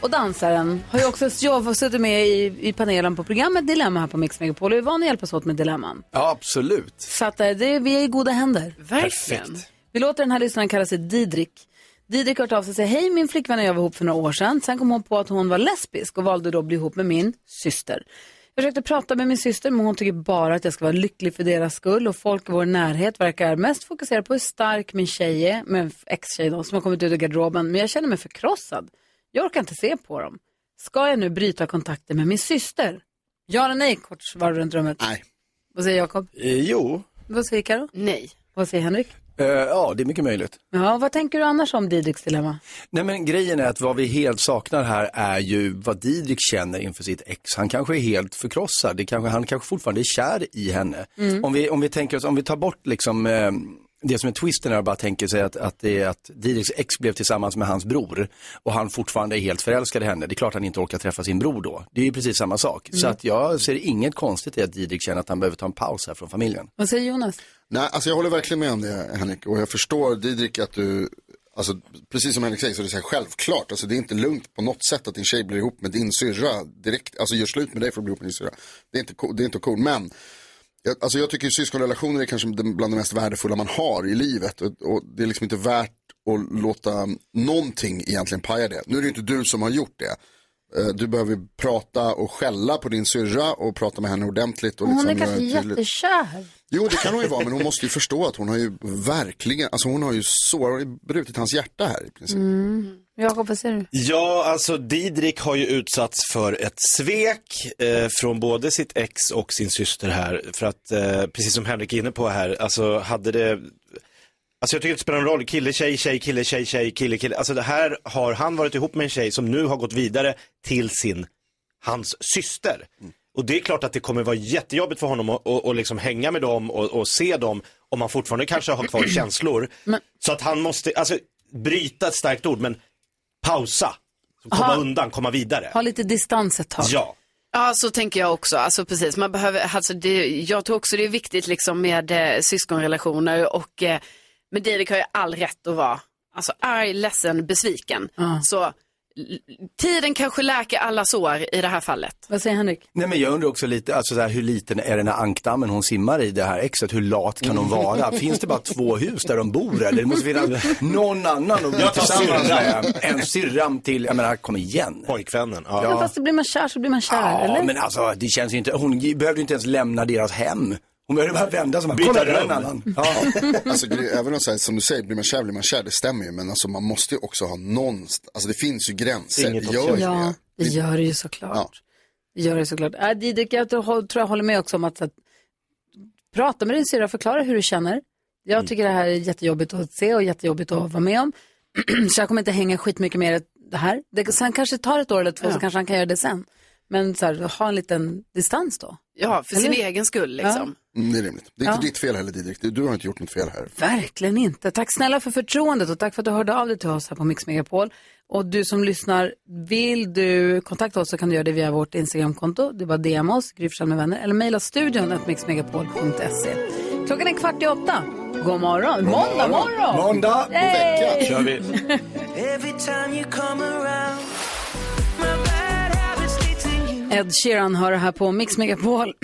och dansaren. Har ju också jag har suttit med i, i panelen på programmet Dilemma här på Mix Megapol och är van att hjälpas åt med dilemman.
Ja, absolut.
Så att eh, det, vi är i goda händer.
Verkligen. Perfekt.
Vi låter den här lyssnaren kalla sig Didrik. Didrik har hört av sig och säger, hej min flickvän och jag var ihop för några år sedan. Sen kom hon på att hon var lesbisk och valde då att bli ihop med min syster. Jag försökte prata med min syster men hon tycker bara att jag ska vara lycklig för deras skull och folk i vår närhet verkar mest fokusera på hur stark min tjej är, min ex-tjej då, som har kommit ut ur garderoben. Men jag känner mig förkrossad. Jag orkar inte se på dem. Ska jag nu bryta kontakten med min syster? Ja eller nej, kort varv runt rummet.
Nej.
Vad säger Jakob?
Eh, jo,
Vad säger Karo?
Nej.
Vad säger Henrik?
Eh, ja det är mycket möjligt.
Ja, vad tänker du annars om Didriks dilemma?
Nej men grejen är att vad vi helt saknar här är ju vad Didrik känner inför sitt ex. Han kanske är helt förkrossad, det kanske, han kanske fortfarande är kär i henne.
Mm.
Om, vi, om vi tänker oss, om vi tar bort liksom eh, det som är twisten är att bara tänker sig att, att, det är att Didriks ex blev tillsammans med hans bror och han fortfarande är helt förälskad i henne. Det är klart han inte orkar träffa sin bror då. Det är ju precis samma sak. Så
Mm.
att jag ser inget konstigt i att Didrik känner att han behöver ta en paus här från familjen.
Vad säger Jonas?
Nej, alltså jag håller verkligen med om det Henrik och jag förstår Didrik att du, alltså, precis som Henrik säger så är det så här, självklart, alltså, det är inte lugnt på något sätt att din tjej blir ihop med din syrra direkt, alltså gör slut med dig för att bli ihop med din syrra. Det är inte, co- det är inte cool, men jag, alltså, jag tycker ju syskonrelationer är kanske den- bland det mest värdefulla man har i livet och, och det är liksom inte värt att låta någonting egentligen paja det. Nu är det ju inte du som har gjort det. Eh, Du behöver prata och skälla på din syrra och prata med henne ordentligt. Och
Hon
liksom
är kanske
göra tydligt-
jättekär.
Jo, det kan hon ju vara, men hon måste ju förstå att hon har ju verkligen, alltså hon har ju sårat, hon har ju brutit hans hjärta här i princip.
Mm. Jakob, vad säger du?
Ja, alltså Didrik har ju utsatts för ett svek eh, från både sitt ex och sin syster här. För att, eh, precis som Henrik är inne på här, alltså hade det... Alltså jag tycker det spelar någon roll, kille, tjej, tjej, kille, tjej, tjej, kille, kille. Alltså det här har han varit ihop med en tjej som nu har gått vidare till sin, hans syster. Och det är klart att det kommer vara jättejobbigt för honom att, att, att liksom hänga med dem och, och se dem om han fortfarande kanske har kvar känslor. Så att han måste, alltså bryta ett starkt ord, men pausa. Så Komma
Ha-
undan, komma vidare.
Ha lite distans ett tag.
Ja.
Ja, så tänker jag också. Alltså, precis. Man behöver, alltså, det, jag tror också det är viktigt liksom, med eh, syskonrelationer. Och, eh, men Didrik har ju all rätt att vara alltså, arg, ledsen, besviken. Så l- tiden kanske läker alla sår i det här fallet.
Vad säger Henrik?
Nej men jag undrar också lite, alltså så här, hur liten är den här ankdammen hon simmar i, det här exet, hur lat kan hon vara? Finns det bara två hus där de bor eller? Det måste finnas någon annan att bli
Jag tar
tillsammans
syrran.
med. En syrran till, jag menar kom igen.
Pojkvännen,
Ja. fast blir man kär så blir man kär,
Ja,
eller?
men alltså det känns ju inte, hon gi- behövde ju inte ens lämna deras hem. Hon behövde bara vända sig och bara,
Byta
kolla där är en
rum."
annan. Ja.
alltså, det är ju även om så här, som du säger, blir man kär blir man kär, det stämmer ju, men alltså, man måste ju också ha någon, alltså det finns ju gränser.
Inget
det gör ju
Ja,
det.
det gör det ju såklart. Det gör det såklart. Äh, Didrik, jag tror tror jag håller med också om att, att prata med din syrra, förklara hur du känner. Jag
Mm.
tycker det här är jättejobbigt att se och jättejobbigt att vara med om. så jag kommer inte hänga skitmycket mer i det här. Det, sen kanske det tar ett år eller två så kanske han kan göra det sen. Men så här, ha en liten distans då.
Ja, för sin
Eller?
egen skull liksom.
Mm, det är rimligt. Det är inte
Ja.
ditt fel heller Didrik, du, du har inte gjort något fel här.
Verkligen inte. Tack snälla för förtroendet och tack för att du hörde av dig till oss här på Mix Megapol. Och du som lyssnar, vill du kontakta oss så kan du göra det via vårt Instagramkonto. Det är bara DM oss, Gry Forssell med vänner, eller mejla studion at mixmegapol.se. Klockan är kvart i åtta. God morgon. Måndag morgon.
Måndag!
Yay!
Kör vi.
Every time you come around, my bad habits lead to you.
Ed Sheeran hör här på Mix Megapol.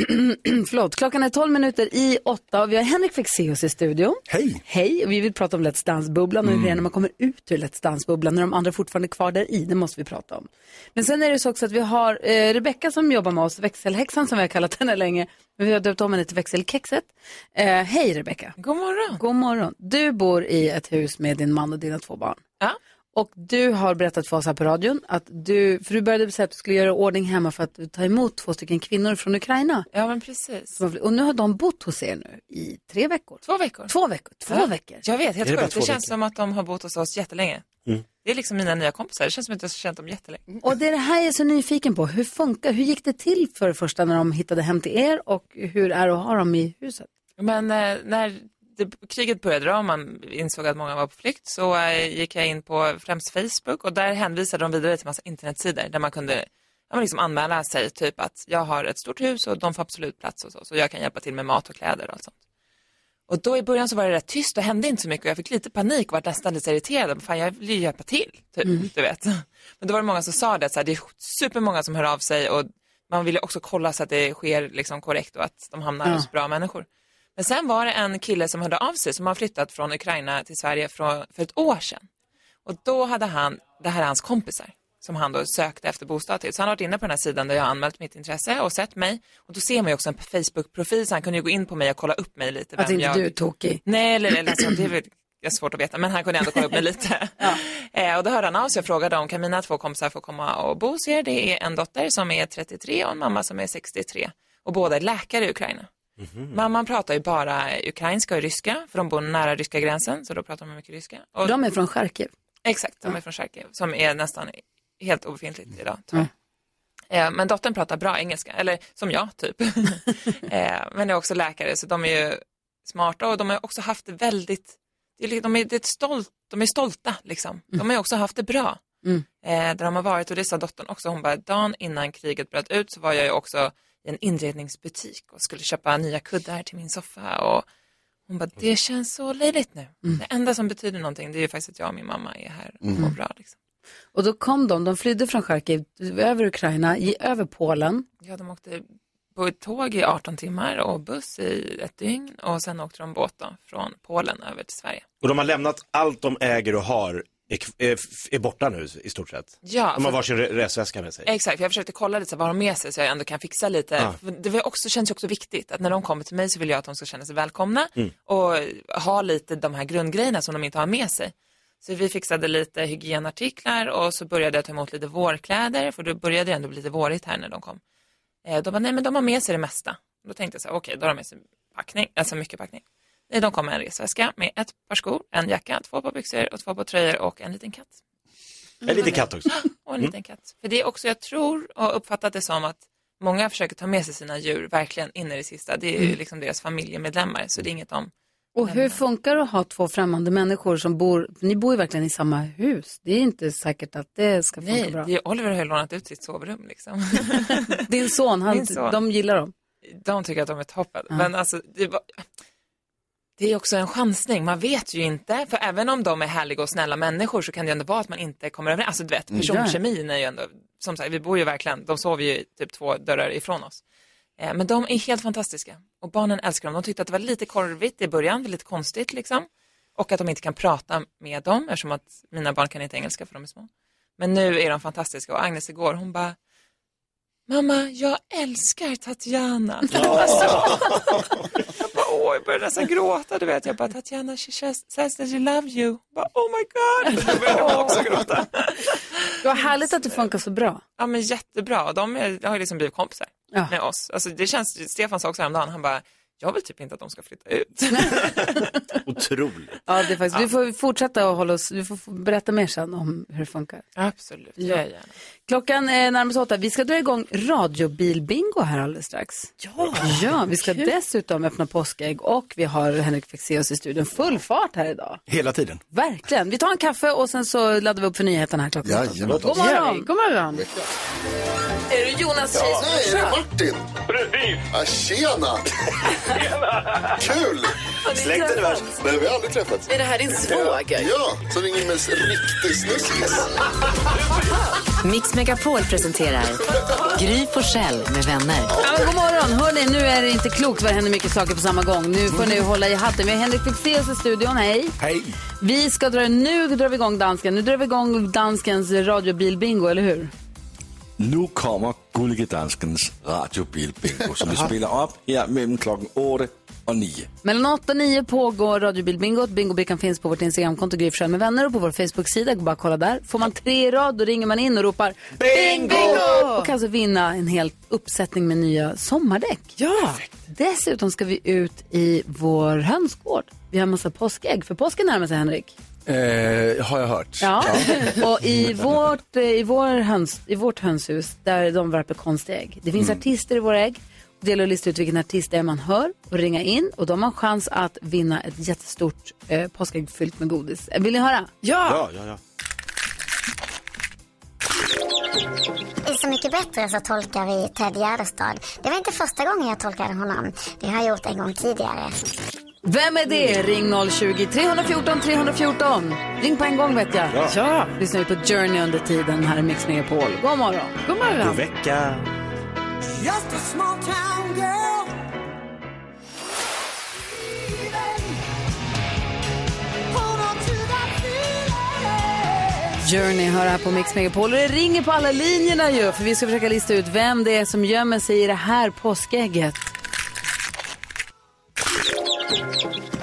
Förlåt, klockan är 12 minuter i åtta och vi har Henrik Fexeus i studion.
Hej!
Hej, och vi vill prata om Let's Dance-bubblan och hur det är när man kommer ut ur Let's Dance-bubblan när de andra fortfarande är kvar där i, det måste vi prata om. Men sen är det så också att vi har eh, Rebecka som jobbar med oss, växelhäxan som vi har kallat henne länge, men vi har döpt om henne till växelkexet. Eh, hej Rebecka! God morgon! God morgon! Du bor i ett hus med din man och dina två barn. Ja. Och du har berättat för oss här på radion att du, för du började säga att du skulle göra ordning hemma för att ta emot två stycken kvinnor från Ukraina.
Ja, men precis.
Som har fly- Och nu har de bott hos er nu i tre veckor.
Två veckor.
Två veckor. Två
Ja.
veckor.
Jag vet,
Är
helt
det bara
sjukt. Det
två
känns
veckor? Mm.
som att de har bott hos oss jättelänge. Det är liksom mina nya kompisar. Det känns som att jag har känt dem jättelänge.
Och det är det här jag är så nyfiken på. Hur funkar, hur gick det till för det första när de hittade hem till er och hur är det att ha dem i huset?
Men eh, när det, kriget började då, och man insåg att många var på flykt så eh, gick jag in på främst Facebook och där hänvisade de vidare till massa internetsidor där man kunde ja, men liksom anmäla sig, typ att jag har ett stort hus och de får absolut plats och så, så jag kan hjälpa till med mat och kläder och allt sånt. Och då i början så var det rätt tyst och hände inte så mycket och jag fick lite panik och var nästan lite irriterad. Men Fan, jag vill ju hjälpa till, typ,
Mm.
du vet. Men då var det många som sa det, att så här, det är supermånga som hör av sig och man vill ju också kolla så att det sker liksom korrekt och att de hamnar
Ja.
hos bra människor. Men sen var det en kille som hörde av sig som har flyttat från Ukraina till Sverige från, för ett år sedan. Och då hade han, det här är hans kompisar som han då sökte efter bostad till. Så han har varit inne på den här sidan där jag har anmält mitt intresse och sett mig. Och då ser man ju också en Facebook-profil så han kunde ju gå in på mig och kolla upp mig lite.
Att
vem
inte
jag...
du är tokig.
Nej, eller, eller så, det är väl det är svårt att veta, men han kunde ändå kolla upp mig lite. eh, och då hörde han av sig och frågade om kan mina två kompisar få komma och bo hos er? Det är en dotter som är 33 och en mamma som är 63. Och båda är läkare i Ukraina. Mamman pratar ju bara ukrainska och ryska, för de bor nära ryska gränsen, så då pratar man mycket ryska. Och,
De är från Charkiv.
Exakt, de är från Charkiv, som är nästan helt obefintligt idag. tyvärr. Eh, men dottern pratar bra engelska, eller som jag typ. eh, men är också läkare, så de är ju smarta och de har också haft det väldigt, det är li- de är, det är ett stolt, de är stolta liksom. De har ju också haft det bra
Mm.
eh, där de har varit och det sa dottern också, hon bara, dagen innan kriget bröt ut så var jag ju också i en inredningsbutik och skulle köpa nya kuddar till min soffa och hon bara, det känns så löjligt nu. Det enda som betyder någonting det är ju faktiskt att jag och min mamma är här och mår
Mm.
bra. Liksom.
Och då kom de, de flydde från Charkiv över Ukraina, i- över Polen.
Ja, de åkte på ett tåg i 18 timmar och buss i ett dygn och sen åkte de båt då, från Polen över till Sverige.
Och de har lämnat allt de äger och har, är, kv- är, f- är borta nu i stort sett.
Ja,
de har
för-
varsin re- resväska med sig.
Exakt, jag försökte kolla lite så här, vad har de med sig så jag ändå kan fixa lite.
Ja.
För Det var också, känns ju också viktigt att när de kommer till mig så vill jag att de ska känna sig välkomna
Mm.
och ha lite de här grundgrejerna som de inte har med sig. Så vi fixade lite hygienartiklar och så började jag ta emot lite vårkläder för då började det ändå bli lite vårigt här när de kom. Eh, De bara, nej men de har med sig det mesta. Då tänkte jag så här, okej, då har de med sig packning, alltså mycket packning. Nej, de kom med en resväska med ett par skor, en jacka, två par byxor och två par tröjor och en liten katt.
En liten katt också.
Och en liten
Mm.
katt. För det är också, jag tror och har uppfattat det som att många försöker ta med sig sina djur verkligen in i det sista. Det är ju
Mm.
liksom deras familjemedlemmar, så det är inget om.
Och hur funkar det att ha två främmande människor som bor, ni bor ju verkligen i samma hus. Det är inte säkert att det ska funka
Nej,
bra.
det är Oliver har ju lånat ut sitt sovrum liksom.
Din son, han,
Min son.
de gillar dem.
De tycker att de är toppen.
Ja.
Men alltså, det, var... det är också en chansning. Man vet ju inte. För även om de är härliga och snälla människor så kan det ju ändå vara att man inte kommer överens. Alltså du vet,
Mm.
personkemin är ju ändå, som sagt, vi bor ju verkligen, de sover ju typ två dörrar ifrån oss. Eh, Men de är helt fantastiska. Och barnen älskar dem. De tyckte att det var lite korvigt i början, lite konstigt liksom. Och att de inte kan prata med dem eftersom att mina barn kan inte engelska för de är små. Men nu är de fantastiska och Agnes igår, hon bara Mamma, jag älskar Tatjana. Alltså, jag bara, åh, jag började nästan gråta, du vet. Jag bara, Tatjana, she says- says that she love you. Jag Bara, oh my god. Jag började också gråta.
Det var härligt att det funkar så bra.
Ja, men jättebra. Och De är, har ju liksom blivit kompisar
Ja.
med oss. Alltså, det känns, Stefan sa också häromdagen, han bara, jag vill typ inte att de ska flytta ut. Eh.
Otroligt.
Ja, det är faktiskt. Du får fortsätta och hålla oss, du får få berätta mer sen om hur det funkar.
Absolut, det
Ja.
gör jag gärna.
Klockan är närmast åtta. Vi ska dra igång radiobilbingo här alldeles strax. Ja, ja vi ska dessutom öppna påskägg och vi har Henrik Fexeus i studion. Full fart här idag.
Hela tiden.
Verkligen. Vi tar en kaffe och sen så laddar vi upp för nyheterna här klockan åtta.
Jajamän.
God
Ja,
morgon.
vi-
God morgon. Är du Jonas
Ja, nej, är det
morsa?
Martin? Precis. Ja, tjena. Kul.
Släkten är värst.
Nej, vi har aldrig träffats.
Är det här din svåger?
Ja, som ringer med en riktig snuskis.
Mix Megapol presenterar Gry Forssell med vänner.
Ja, men god morgon. Hörrni, nu är det inte klokt vad det händer mycket saker på samma gång. Nu får ni hålla i hatten. Vi har Henrik Fexeus i studion. Hej.
Hej.
Vi ska dra, nu drar vi igång dansken. Nu drar vi igång danskens radiobilbingo, eller hur?
Nu kommer Gullige Danskens radiobilbingo som vi spelar upp här mellan klockan 8 och 9.
Mellan 8 och 9 pågår radiobilbingot. Bingobrickan finns på vårt Instagramkonto Gry Forssell med vänner och på vår Facebook-sida. Bara kolla där. Får man tre i rad då ringer man in och ropar
Bingo!
Och kan alltså vinna en hel uppsättning med nya sommardäck. Ja! Dessutom ska vi ut i vår hönsgård. Vi har en massa påskägg, för påsken närmar sig Henrik.
Eh, har jag hört.
Ja. och i vårt, eh, i, vår höns, i vårt hönshus där de värper konstiga ägg. Det finns
Mm.
artister i våra ägg. Det gäller att lista ut vilken artist det är man hör och ringa in och då har man chans att vinna ett jättestort eh, påskägg fyllt med godis. Eh, Vill ni höra?
Ja, ja, ja.
I Så mycket bättre så tolkar vi Ted Gärdestad. Det var inte första gången jag tolkade honom. Det har jag gjort en gång tidigare.
Vem är det? Ring 020 314 314. Ring på en gång vet jag.
Ja.
Lyssnar vi på Journey under tiden här i Mix Megapol. God morgon. God
God vecka.
Just a small town girl. Hold on to that feeling.
Journey hör här på Mix Megapol och det ringer på alla linjerna ju för vi ska försöka lista ut vem det är som gömmer sig i det här påskägget.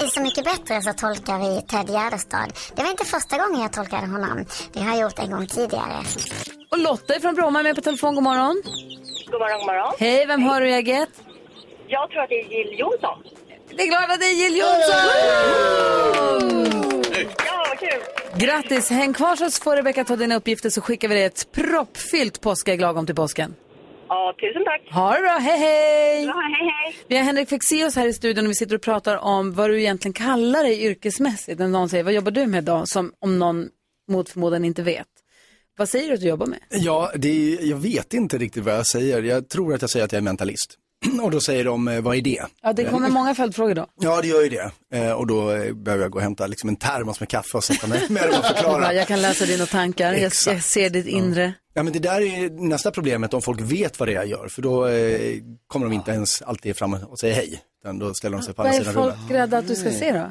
I Så mycket bättre så tolkar vi Ted Gärdestad. Det var inte första gången jag tolkade honom. Det har jag gjort en gång tidigare.
Och Lotta från Bromma är med på telefon. God morgon.
God morgon, god morgon.
Hej, vem hör du i ägget?
Jag tror att det är Jill Johnson.
Det är glada det är Jill Johnson!
Ja, vad kul!
Grattis! Häng kvar så får Rebecka ta dina uppgifter så skickar vi dig ett proppfyllt påskägg lagom till påsken.
Ja, tusen tack.
Ha det bra, hej hej!
Ja, hej, hej.
Vi har Henrik Fexeus här i studion och vi sitter och pratar om vad du egentligen kallar dig yrkesmässigt. När någon säger, vad jobbar du med då? Som om någon mot förmodan inte vet. Vad säger du att du jobbar med?
Ja, det är, jag vet inte riktigt vad jag säger. Jag tror att jag säger att jag är mentalist. Och då säger de, eh, vad är det?
Ja, det kommer många följdfrågor då.
Ja, det gör ju det. Eh, Och då eh, behöver jag gå och hämta liksom en termos med kaffe och sätta mig med dem och förklara.
Bra, Jag kan läsa dina tankar, jag, jag ser ditt inre.
Ja, men det där är nästa problemet om folk vet vad det är jag gör, för då eh, kommer de inte ens alltid fram och säger hej, utan då ställer de sig på
Vad
andra
är
sidan
folk
rummet.
rädda att du ska se då?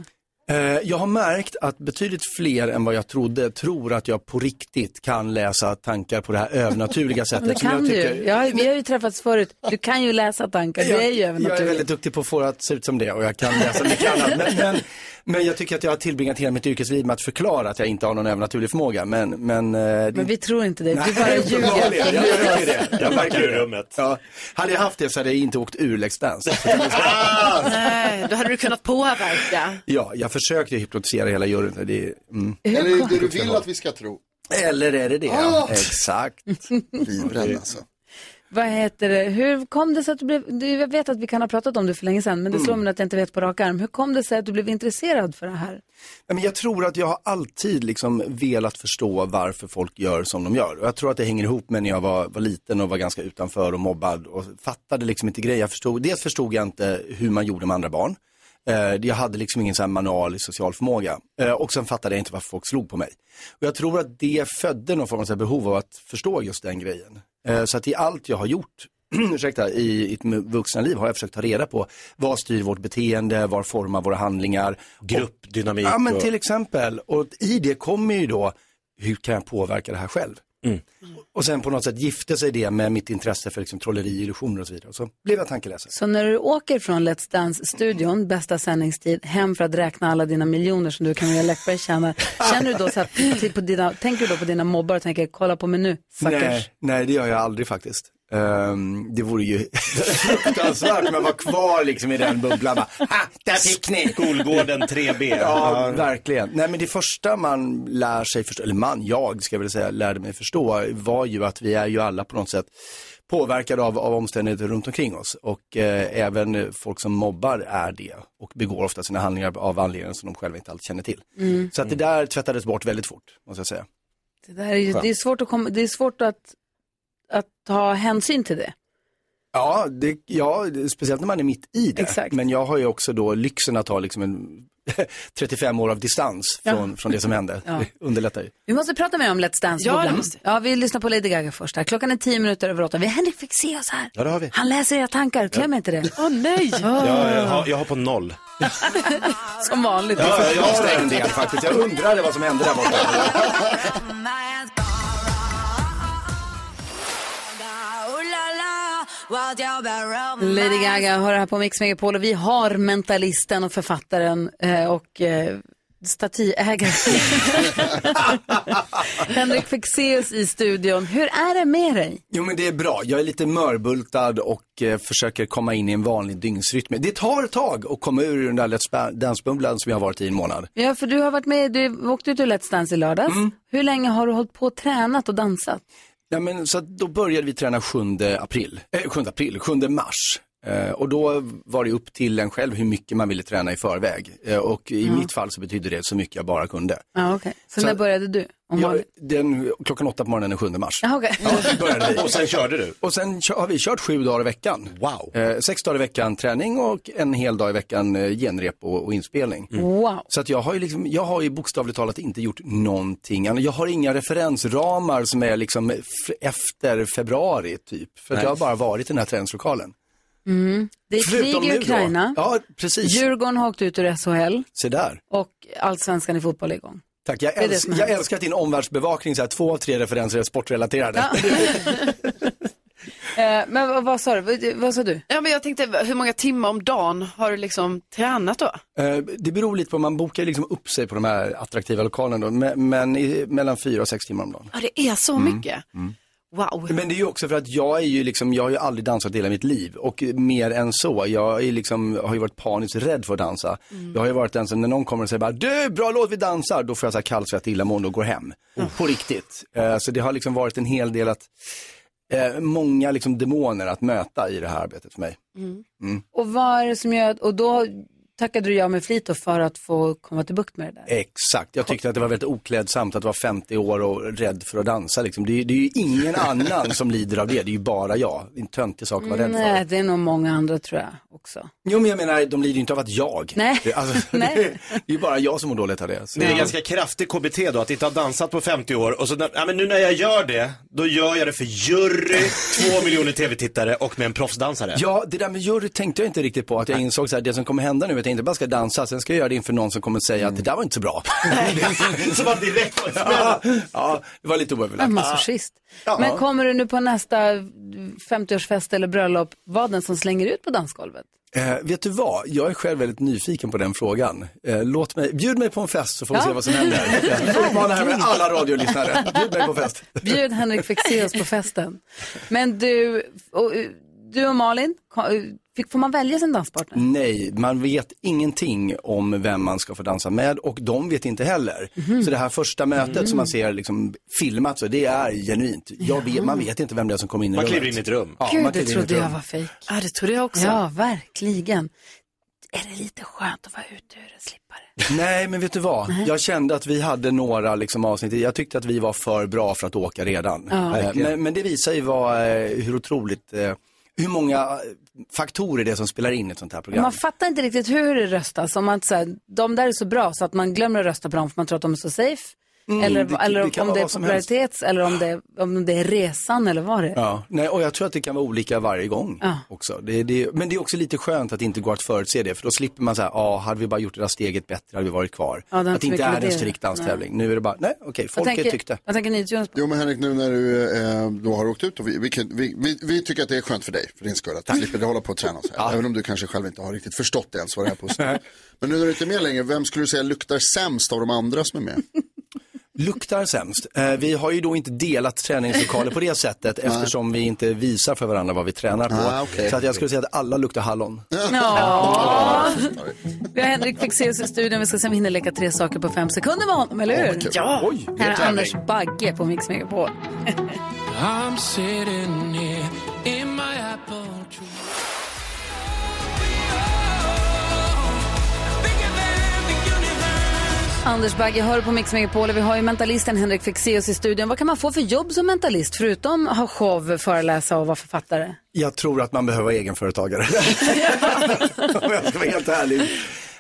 Eh, jag har märkt att betydligt fler än vad jag trodde tror att jag på riktigt kan läsa tankar på det här övernaturliga sättet.
Men det
som
kan
jag
du
tycker-
ju. Jag, har- vi har ju träffats förut. Du kan ju läsa tankar, du är ju
Jag är
övernaturlig.
väldigt duktig på att få det att se ut som det och jag kan läsa mycket annat. Men, men, men jag tycker att jag har tillbringat hela mitt yrkesliv med att förklara att jag inte har någon övernaturlig förmåga. Men, men, eh, det-
Men vi tror inte dig, du bara
Nej,
ljuger.
uppenbarligen. Jag märker det. Jag märker
ur
det. Ja. Hade jag haft det så hade jag inte åkt ur Let's Dance. Alltså,
Nej, då hade du kunnat påverka.
Ja, jag försökte hypnotisera hela juryn. Det, är- mm.
Eller är det du vill att vi ska tro?
Eller är det det?
Ah!
Exakt.
Livrädd alltså.
Vad heter det? Hur kom det sig att du blev, du, jag vet att vi kan ha pratat om det för länge sedan, men det
Mm.
slår mig att jag inte vet på rak arm. Hur kom det sig att du blev intresserad för det här?
Ja, Men jag tror att jag har alltid liksom velat förstå varför folk gör som de gör. Och jag tror att det hänger ihop med när jag var, var liten och var ganska utanför och mobbad och fattade liksom inte grejer. Jag förstod, dels förstod jag inte hur man gjorde med andra barn. Eh, jag hade liksom ingen så här manual i social förmåga. Eh, och sen fattade jag inte varför folk slog på mig. Och jag tror att det födde någon form av så här behov av att förstå just den grejen. Eh, så att i allt jag har gjort ursäkta, i, i ett mu- vuxna liv har jag försökt ta reda på vad styr vårt beteende, vad formar våra handlingar.
Gruppdynamik.
Ja, men
och-
till exempel. Och i det kommer ju då, hur kan jag påverka det här själv? Och sen på något sätt gifte sig det med mitt intresse för liksom trolleri, illusioner och så vidare. Och så blev jag tankeläsare.
Så när du åker från Let's Dance-studion, bästa sändningstid, hem för att räkna alla dina miljoner som du kan göra Läckberg tjänar, känner du då så här, till på dina, tänker du då på dina mobbar och tänker, kolla på mig nu,
Nej,
suckers.
nej, det gör jag aldrig faktiskt. Ehm, det vore ju fruktansvärt men var kvar liksom i den bubblan. bara, Ha, där fick ni!
Skolgården 3B.
Ja, verkligen. Nej, men det första man lär sig förstå, eller man, jag ska jag väl säga, lärde mig förstå var ju att vi är ju alla på något sätt påverkade av, av omständigheter runt omkring oss. Och eh, även folk som mobbar är det och begår ofta sina handlingar av anledningar som de själva inte alltid känner till.
Mm.
Så att det där tvättades bort väldigt fort, måste jag säga.
Det, där är ju, det är svårt, att, komma, det är svårt att, att ta hänsyn till det.
Ja, det, ja, det- speciellt när man är mitt i det. Men jag har ju också då lyxen att ha liksom en 35 år av distans
Ja.
från, från det som hände.
Ja.
Det underlättar ju.
Vi måste prata mer om Let's Dance.
Ja, det
bubblan.
måste
ja, vi lyssnar på Lady Gaga först. Här. Klockan är tio minuter över åtta. Vi har Henrik fick se oss här.
Ja, det har vi.
Han läser era tankar, glöm inte det. Åh nej!
Ja, jag, har, jag har på noll.
Som vanligt.
Ja, jag har stängd del faktiskt. Jag undrade vad som hände där borta.
Lady Gaga hör här på Mix Megapol och vi har mentalisten och författaren eh, och eh, statyägaren Henrik Fexeus i studion. Hur är det med dig?
Jo men det är bra, jag är lite mörbultad och eh, försöker komma in i en vanlig dygnsrytm. Det tar ett tag att komma ur den där Let's Ba- Dance-bubblan som jag har varit i en månad.
Ja, för du har varit med, du åkte ut ur Let's Dance i lördags.
Mm.
Hur länge har du hållit på och tränat och dansat?
Ja, men, så att då började vi träna 7 april, eh, 7 april, 7 mars. Eh, och då var det upp till en själv hur mycket man ville träna i förväg. Eh, och i
Ja.
mitt fall så betydde det så mycket jag bara kunde.
Ja, okej. Så,
Så-
när började du? Om
Jag,
vanligt?
den, klockan åtta på morgonen den 7 mars.
Ja, okej.
Och sen körde du?
Och sen kö- har vi kört sju dagar i veckan.
Wow.
Eh, sex dagar i veckan träning och en hel dag i veckan eh, genrep och, och inspelning.
Mm.
Wow.
Så att jag har ju liksom, jag har ju bokstavligt talat inte gjort någonting annat. Jag har inga referensramar som är liksom f- efter februari typ. För att
Nej.
jag har bara varit i den här träningslokalen.
Mm. Det är krig
Förutom
i
nu då.
Ukraina.
Ja, precis.
Djurgården har åkt ut ur SHL
Se där.
och allsvenskan i fotboll är igång.
Tack, jag,
Det är det
äls-
som har
jag
hänt.
älskar att din omvärldsbevakning, så här, två av tre referenser är sportrelaterade.
Eh, men vad, vad sa du? Vad, vad sa du?
Ja, men jag tänkte, hur många timmar om dagen har du liksom tränat då?
Eh, Det beror lite på, man bokar ju liksom upp sig på de här attraktiva lokalerna då, men, men i, mellan fyra och sex timmar om dagen.
Ja, det är så
Mm.
mycket.
Mm.
Wow.
Men det är ju också för att jag är ju liksom, jag har ju aldrig dansat hela mitt liv och mer än så, jag är liksom, har ju varit paniskt rädd för att dansa. Jag har ju varit den som, när någon kommer och säger bara, du, bra låt, vi dansar, då får jag så här kallsvett, illamående och går hem. På riktigt. Eh, Så det har liksom varit en hel del att eh, många liksom, demoner att möta i det här arbetet för mig. Mm.
Och vad är det som gör att, och då tackade du ja med flit då för att få komma till bukt med det där.
Exakt, jag tyckte att det var väldigt oklädsamt att vara 50 år och rädd för att dansa. Liksom. Det, är, det är ju ingen annan som lider av det, det är ju bara jag. En töntig sak att vara rädd för.
Nej, det är nog många andra tror jag också.
Jo men jag menar, de lider ju inte av att jag.
Nej.
Det, alltså,
Nej.
det är det är ju bara jag som mår dåligt av det. Så
Det är
det-
ganska kraftig KBT då, att inte ha dansat på 50 år och så, när- ja men nu när jag gör det, då gör jag det för jury, två miljoner tv-tittare och med en proffsdansare.
Ja, det där med jury tänkte jag inte riktigt på. Att jag insåg så här, det som kommer hända nu är att jag inte bara ska dansa, sen ska jag göra det inför någon som kommer säga att det där var inte så bra.
som var direkt på
ja, ja, det var lite oöverlagt.
En masochist.
Ah. Ja.
Men kommer du nu på nästa 50-årsfest eller bröllop vara den som slänger ut på dansgolvet?
Eh, vet du vad, jag är själv väldigt nyfiken på den frågan. Eh, låt mig, bjud mig på en fest så får vi
Ja.
se vad som händer. Jag uppmanar härmed alla radiolyssnare, bjud mig på fest.
Bjud Henrik Fexeus på festen. Men du och, eh, du och Malin, ko- eh, fick, får man välja sin danspartner?
Nej, man vet ingenting om vem man ska få dansa med och de vet inte heller.
Mhm.
Så det här första mötet som man ser liksom filmat, så det är genuint. Jag vet, man vet inte vem det är som kommer in i
Man
rummet.
kliver in i ett rum.
Ja,
Mhm. Gud,
man
det
kliver in i ett
trodde jag
rum.
var fejk.
Ja, det trodde jag också.
Ja, verkligen. Är det lite skönt att vara ute ur en slippare?
Nej, men vet du vad? Jag kände att vi hade några liksom, avsnitt, jag tyckte att vi var för bra för att åka redan.
Ja.
Eh,
Verkligen.
Men, men det visar ju vad, eh, hur otroligt, eh, hur många eh, faktorer det är som spelar in i ett sånt här program.
Man fattar inte riktigt hur det röstas. Om man, så här, de där är så bra så att man glömmer att rösta på dem för man tror att de är så safe.
Mm,
eller
det-
eller
det kan
om
vara
det är
vad som helst.
popularitets eller om det, om det är resan eller vad det är.
Ja, nej, och jag tror att det kan vara olika varje gång
Ja.
också. Det, det, men det är också lite skönt att det inte går att förutse det, för då slipper man säga, ja, hade vi bara gjort det där steget bättre hade vi varit kvar.
Ja, den
att det inte är en
spekulerar.
strikt danstävling. Nu är det bara, nej, okej,
Vad
folket
tänker,
tyckte.
Vad tänker ni, Jonas?
Jo men Henrik, nu när du eh, då har åkt ut och vi, vi, kan- vi, vi, vi tycker att det är skönt för dig, för din skull, att du slipper hålla på och träna och så här. Även om du kanske själv inte har riktigt förstått det ens vad det är på sig. Men nu när du inte är med längre, vem skulle du säga luktar sämst av de andra som är med?
Luktar sämst. Eh, vi har ju då inte delat träningslokaler på det sättet eftersom vi inte visar för varandra vad vi tränar på.
Ah, okej.
Så att jag skulle säga att alla luktar hallon.
Ja. Vi har Henrik Fexeus i studion. Vi ska se om vi hinner leka tre saker på fem sekunder med honom, eller
Åh,
hur?
vad kul. Oj, det är
Här är
tävling.
Anders Bagge på Mix Megapol.
I'm sitting here in my apple tree.
Anders Bagge hör på Mix Megapol och vi har ju mentalisten Henrik Fexeus i studion. Vad kan man få för jobb som mentalist förutom ha show, föreläsa och vara författare?
Jag tror att man behöver vara egenföretagare. om jag ska vara helt ärlig.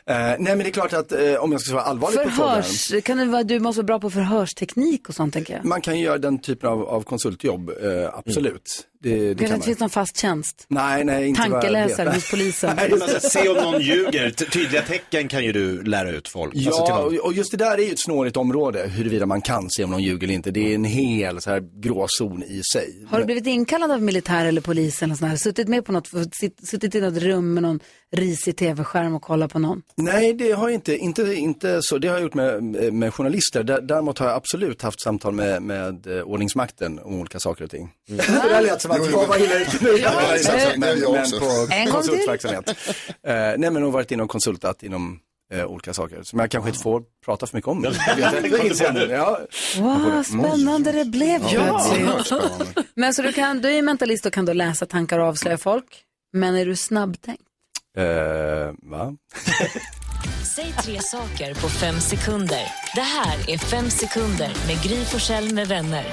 Eh, nej men det är klart att eh, om jag ska vara allvarlig på frågan.
Förhörs, kan det vara, du måste vara bra på förhörsteknik och sånt tänker jag.
Man kan ju göra den typen av, av konsultjobb, eh, absolut. Det, det
Det
kan
det finns
man.
någon fast tjänst.
Nej, nej, inte vad jag
Tankeläsare
vet.
hos polisen.
Nej, men alltså, se om någon ljuger, Ty- tydliga tecken kan ju du lära ut folk. Alltså, till
Ja,
någon.
och- och just det där är ju ett snårigt område, huruvida man kan se om någon ljuger eller inte. Det är en hel så här gråzon i sig.
Har du blivit inkallad av militär eller polis eller något sånt här? Suttit med på något, sitt- suttit i något rum med någon risig tv-skärm och kollat på någon?
Nej, det har jag inte, inte, inte så. Det har jag gjort med, med journalister. Dä- Däremot har jag absolut haft samtal med, med eh, ordningsmakten om olika saker och ting. Det där lät som att jag var illa ute nu.
Ja,
Det var illa
det-
ute, Men,
jag
men
också.
på
En gång till.
konsultverksamhet. Eh, nej, men hon har varit inne och konsultat inom eh, olika saker som jag kanske inte får prata för mycket om.
det kom
inser jag nu. Ja.
Wow, spännande det blev
Ja,
plötsligt.
oerhört spännande.
Men så du, kan, du är ju mentalist och kan då läsa tankar och avslöja folk. Men är du snabbtänkt?
Eh, va?
Säg tre saker på fem sekunder. Det här är Fem sekunder med Gry Forssell med vänner.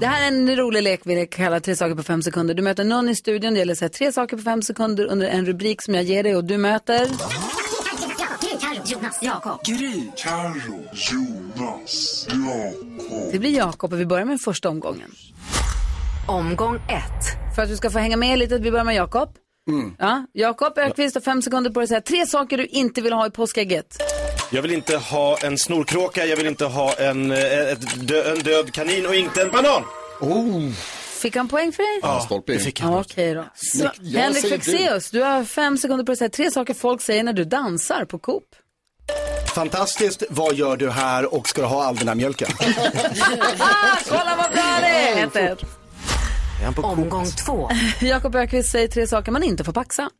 Det här är en rolig lek vi kallar tre saker på fem sekunder. Du möter någon i studion, det gäller att säga tre saker på fem sekunder under en rubrik som jag ger dig och du möter...
Gry, Carro, Jonas, Jakob. Gry, Carro, Jonas, Jakob.
Det blir Jakob och vi börjar med första omgången.
Omgång ett.
För att du ska få hänga med lite, vi börjar med Jakob.
Mm.
Ja, Jakob Ökvist har fem sekunder på dig att säga tre saker du inte vill ha i påskägget.
Jag vill inte ha en snorkråka, jag vill inte ha en, eh, ett dö, en död kanin och inte en banan.
Oh.
Fick han poäng för dig?
stolpe in.
Ja, Okej då.
Snyggt.
Så,
Jag
Henrik
säger du.
Fexeus, du har fem sekunder på dig att säga tre saker folk säger när du dansar på Coop.
Fantastiskt, vad gör du här och ska du ha all den här mjölken?
Ah, Kolla vad bra det är! Ett, ett.
Omgång två.
Jakob Ökvist säger tre saker man inte får paxa.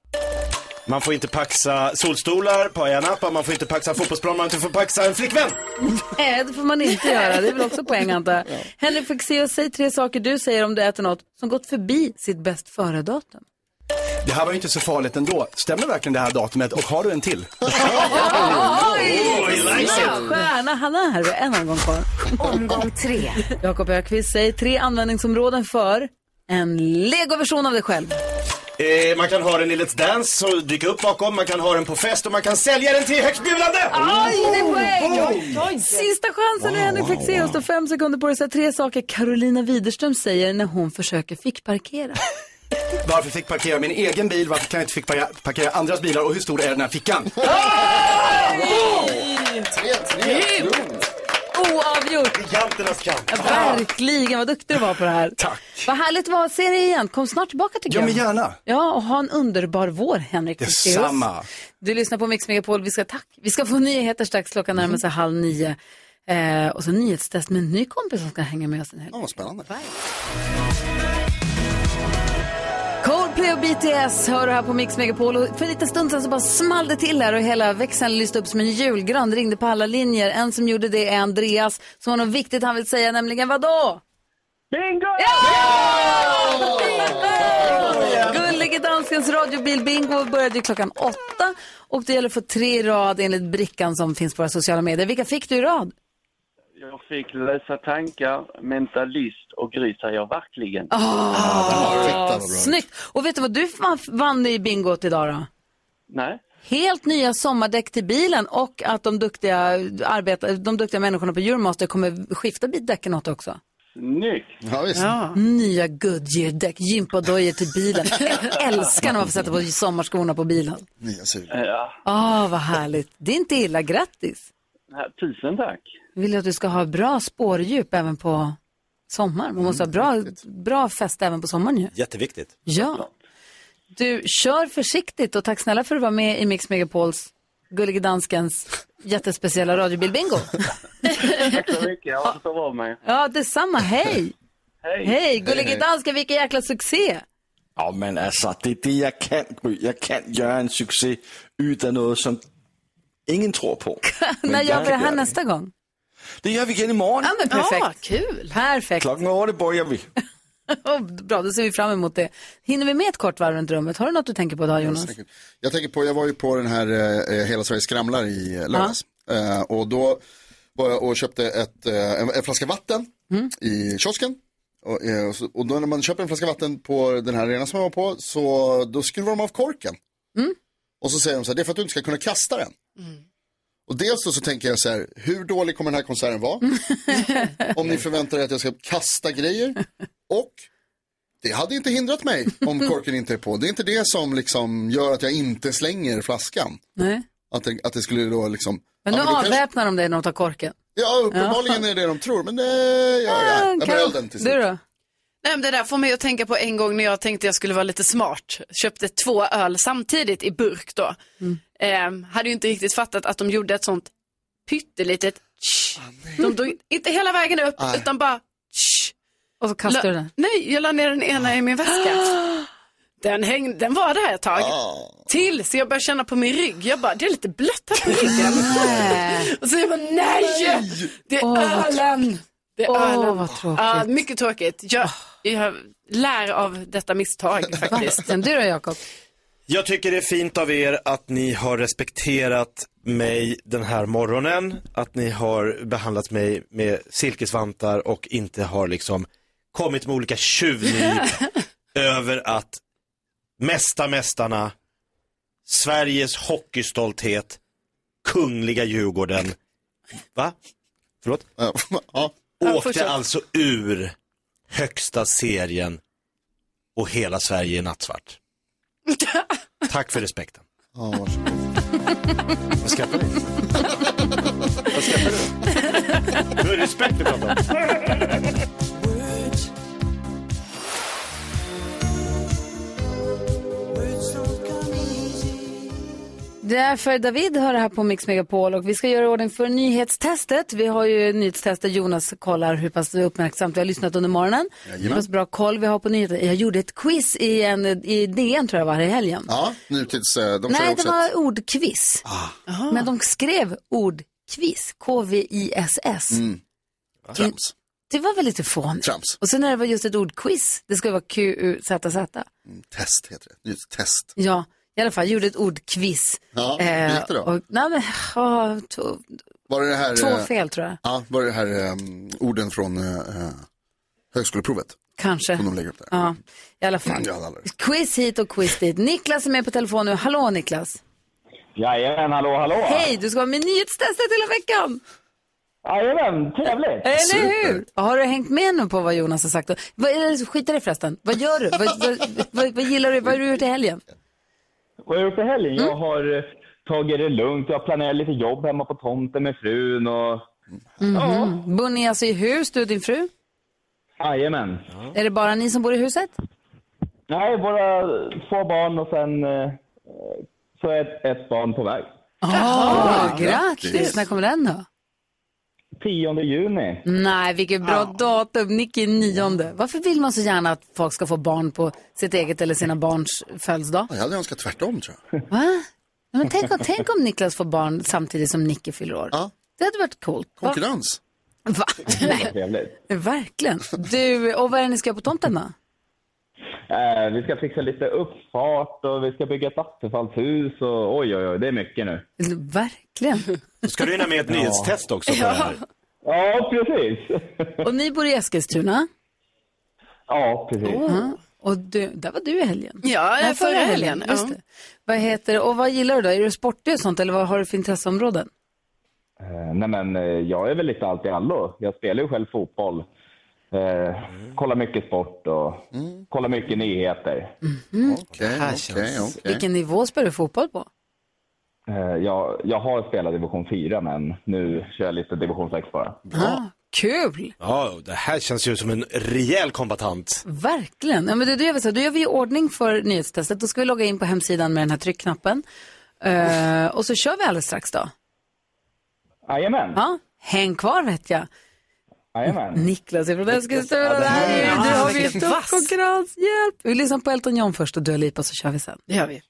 Man får inte paxa solstolar på Ayia man får inte paxa fotbollsplan, man får inte paxa en flickvän.
Nej, det får man inte göra. Det är väl också poäng antar jag. Henrik Fexeus, säg tre saker du säger om du äter något som gått förbi sitt bäst före-datum.
Det här var ju inte så farligt ändå. Stämmer verkligen det här datumet? Och har du en till?
Stjärna, han är här. En omgång kvar. Omgång tre. Jakob Ökvist, säg tre användningsområden för en legoversion av dig själv.
Eh, man kan ha den i Let's Dance och dyka upp bakom, man kan ha den på fest och man kan sälja den till högstbjudande!
Aj, det är poäng! Sista chansen är Henrik Fexeus. Du har fem sekunder på dig att säga tre saker Carolina Widerström säger när hon försöker fick parkera.
Varför fick parkera min egen bil? Varför kan jag inte fick parkera, parkera andras bilar? Och hur stor är den här fickan?
Oavgjort!
Giganternas kamp.
Verkligen, vad duktig du var på det här. Tack. Vad härligt det var att se dig igen. Kom snart tillbaka tycker
Ja,
jag.
men gärna.
Ja, och ha en underbar vår, Henrik. Fexeus.
Detsamma.
Du lyssnar på Mix Megapol. Vi ska, tack. Vi ska få nyheter strax. Klockan
Mm.
närmar sig halv nio. Eh, och så nyhetstest med en ny kompis som ska hänga med oss en helg.
Ja, vad spännande.
Coldplay och BTS hör du här på Mix Megapol. Och för en liten stund sedan så bara small det till här och hela växeln lyste upp som en julgran. Det ringde på alla linjer. En som gjorde det är Andreas som har något viktigt han vill säga, nämligen vadå? Bingo! Ja! Gullige danskens radiobil Bingo började ju klockan åtta och det gäller att få tre i rad enligt brickan som finns på våra sociala medier. Vilka fick du i rad?
Jag fick läsa tankar, mentalist och grisar jag verkligen.
Ah,
Ah,
Snyggt! Och vet du vad du vann- vann i bingot idag då?
Nej.
Helt nya sommardäck till bilen och att de duktiga, arbeta, de duktiga människorna på Euromaster kommer skifta bit- däcken åt också.
Snyggt!
Ja, visst.
Nya Goodyear-däck, gympadojor till bilen. Jag älskar när man får sätta på sommarskorna på bilen.
Nya suger.
Eh, Ja.
Åh, vad härligt. Det är inte illa, grattis.
Ja, Tusen tack!
Vill jag att du ska ha bra spårdjup även på sommar. Man måste ha bra, bra fäste även på sommaren ju.
Jätteviktigt.
Ja. Du, kör försiktigt och tack snälla för att du var med i Mix Megapols Gullige Danskens jättespeciella radiobilbingo.
Tack så mycket, jag får ta av mig.
Ja, detsamma. Hej!
Hej!
Hej, Gullige Dansken, vilken jäkla succé!
Ja, oh, men altså, det er det, jeg kan, Gry. Jeg kan gøre en succes ud af noget, som ingen tror på. Men
När
jeg
gör vi det
kan
här
gøre
nästa gång?
det. Det gør vi igen i morgen.
Ja, men perfekt. kul! Perfekt.
Klokken 8 bøjer vi.
Oh, Bra, då ser vi fram emot det. Hinner vi med ett kort varv runt rummet? Har du något du tänker på idag, Jonas?
säkert. Jag tänker på, jag var ju på den här eh, Hela Sverige skramlar i eh, lördags. Eh, och då var jag och köpte ett, eh, en, en flaska vatten
Mm.
i kiosken. Och, eh, och, så, och då när man köper en flaska vatten på den här arenan som jag var på så då skruvar de av korken.
Mm.
Och så säger de så här, det är för att du inte ska kunna kasta den.
Mm.
Och dels då så tänker jag så här, hur dålig kommer den här konserten vara? om ni förväntar er att jag ska kasta grejer. Och det hade inte hindrat mig om korken inte är på. Det är inte det som liksom gör att jag inte slänger flaskan.
Nej.
Att det, att det skulle då liksom...
Men nu
ja, men då kanske,
avväpnar de dig när de tar korken.
ja, uppenbarligen är det det de tror, men det gör jag. Jag
kan-
börjar elden till slut.
då?
Nej, men det där får mig att tänka på en gång när jag tänkte jag skulle vara lite smart. Köpte två öl samtidigt i burk då.
Mm.
Ehm, hade ju inte riktigt fattat att de gjorde ett sånt pyttelitet tsch. De drog inte hela vägen upp
Nej.
utan bara tsch.
Och så kastade du
La-
den?
Nej, jag la ner den ena i min väska. Den, hängde, den var där ett tag. Tills jag började känna på min rygg. Jag bara, det är lite blött här på ryggen. Och så jag bara, nej! Det är
Åh, vad
ölen. Det är
Åh,
ölen.
vad tråkigt.
Ja, mycket tråkigt. Jag, jag lär av detta misstag faktiskt.
Du då Jakob?
Jag tycker det är fint av er att ni har respekterat mig den här morgonen, att ni har behandlat mig med silkesvantar och inte har liksom kommit med olika tjuvnyp över att mästa mästarna, Sveriges hockeystolthet, kungliga Djurgården, va? Förlåt?
Ja,
Åkte
fortsätt.
alltså ur högsta serien och hela Sverige är nattsvart. Tack för respekten.
Ja, varsågod.
Vad skrattar ni? Vad skrattar du? Nu är det respekt vi pratar om.
Det är för David hör det här på Mix Megapol och vi ska göra i ordning för nyhetstestet. Vi har ju nyhetstest där Jonas kollar hur pass uppmärksamt vi har lyssnat under morgonen.
Jajamän.
Hur pass bra koll vi har på nyheter. Jag gjorde ett quiz i, en, i DN tror jag var här i helgen.
Ja, nutids... eh, De kör
Nej, det
också Ah.
var
ett...
ordquiz. Men de skrev ordquiz, K-V-I-S-S.
Mm.
Det,
Trams.
det var väl lite fånigt.
Trams.
Och sen när det var just ett ordquiz, det skulle vara Q-U-Z-Z.
Mm, Test heter det. Nyhetstest.
Ja, i alla fall, gjorde ett ordquiz. Eh,
Ja, hur gick det då?
och, nej, men, ja, to,
Var det det här...
två
eh,
fel tror jag.
Ja, var det det här eh, orden från eh, högskoleprovet?
Kanske.
Som de lägger upp där.
Ja, i alla fall.
Jag hade aldrig-
Quiz hit och quiz dit. Niklas är med på telefon nu. Hallå Niklas!
Jajamän, hallå, hallå!
Hej, du ska vara med i nyhetstestet hela veckan!
Jajamän, trevligt!
Eller hur? Har du hängt med nu på vad Jonas har sagt? Vad, eller skit i det förresten. Vad gör du? vad, vad, vad, vad gillar du? Vad har du gjort i helgen?
Vad har jag gjort i helgen? Jag har eh, tagit det lugnt. Jag planerar lite jobb hemma på tomten med frun och...
Mhm. Bor ni alltså i hus, du och din fru?
Jajamän.
Är det bara ni som bor i huset?
Nej, våra två barn och sen eh, så är ett, ett barn på väg.
Ah,
Ja,
grattis.
grattis.
När kommer den då?
10 juni.
Nej, vilket bra datum. Nicky nionde. Varför vill man så gärna att folk ska få barn på sitt eget eller sina barns födelsedag?
Jag hade önskat tvärtom tror jag.
Va? Nej, Men tänk, om- tänk om Niklas får barn samtidigt som Nicky fyller år. Det hade varit coolt. Va?
Konkurrens.
Va? Nej,
Trevligt.
verkligen. Du, och vad är det ni ska göra på tomten då?
Eh, vi ska fixa lite uppfart och vi ska bygga ett vattenfallshus och oj, oj, oj, det är mycket nu.
Verkligen.
Ska du hinna med ett
Ja.
nyhetstest också? På
Ja.
det här?
Ja, precis.
Och ni bor i Eskilstuna?
Ja, precis.
Ja. Och du, där var du i helgen?
Oh. Ja,
Nej,
förra helgen, ja.
Just det. Vad heter det? Och vad gillar du då? Är du sportig och sånt eller vad har du för intresseområden?
Eh, nej men eh, jag är väl lite allt i allo. Jag spelar ju själv fotboll. Eh,
Mm.
Kollar mycket sport och kollar mycket nyheter.
Mm.
Okej, okej,
Vilken nivå spelar du fotboll på?
Eh, Jag, jag har spelat division 4 men nu kör jag lite division 6 bara.
Ah, kul!
Ja, det här känns ju som en rejäl kombatant.
Verkligen. Ja, men det, det gör vi så. Då gör vi i ordning för nyhetstestet. Då ska vi logga in på hemsidan med den här tryckknappen. Eh, och så kör vi alldeles strax då.
Jajamän.
Ja, häng kvar vet jag.
Jajamän.
Niklas är från Eskilstuna.
Ja, det här är-
Nej, Nu har vi
vilken
tuff
vass.
konkurrens. Hjälp! Vi lyssnar på Elton John först och Dua Lipa så kör vi sen.
Det gör vi.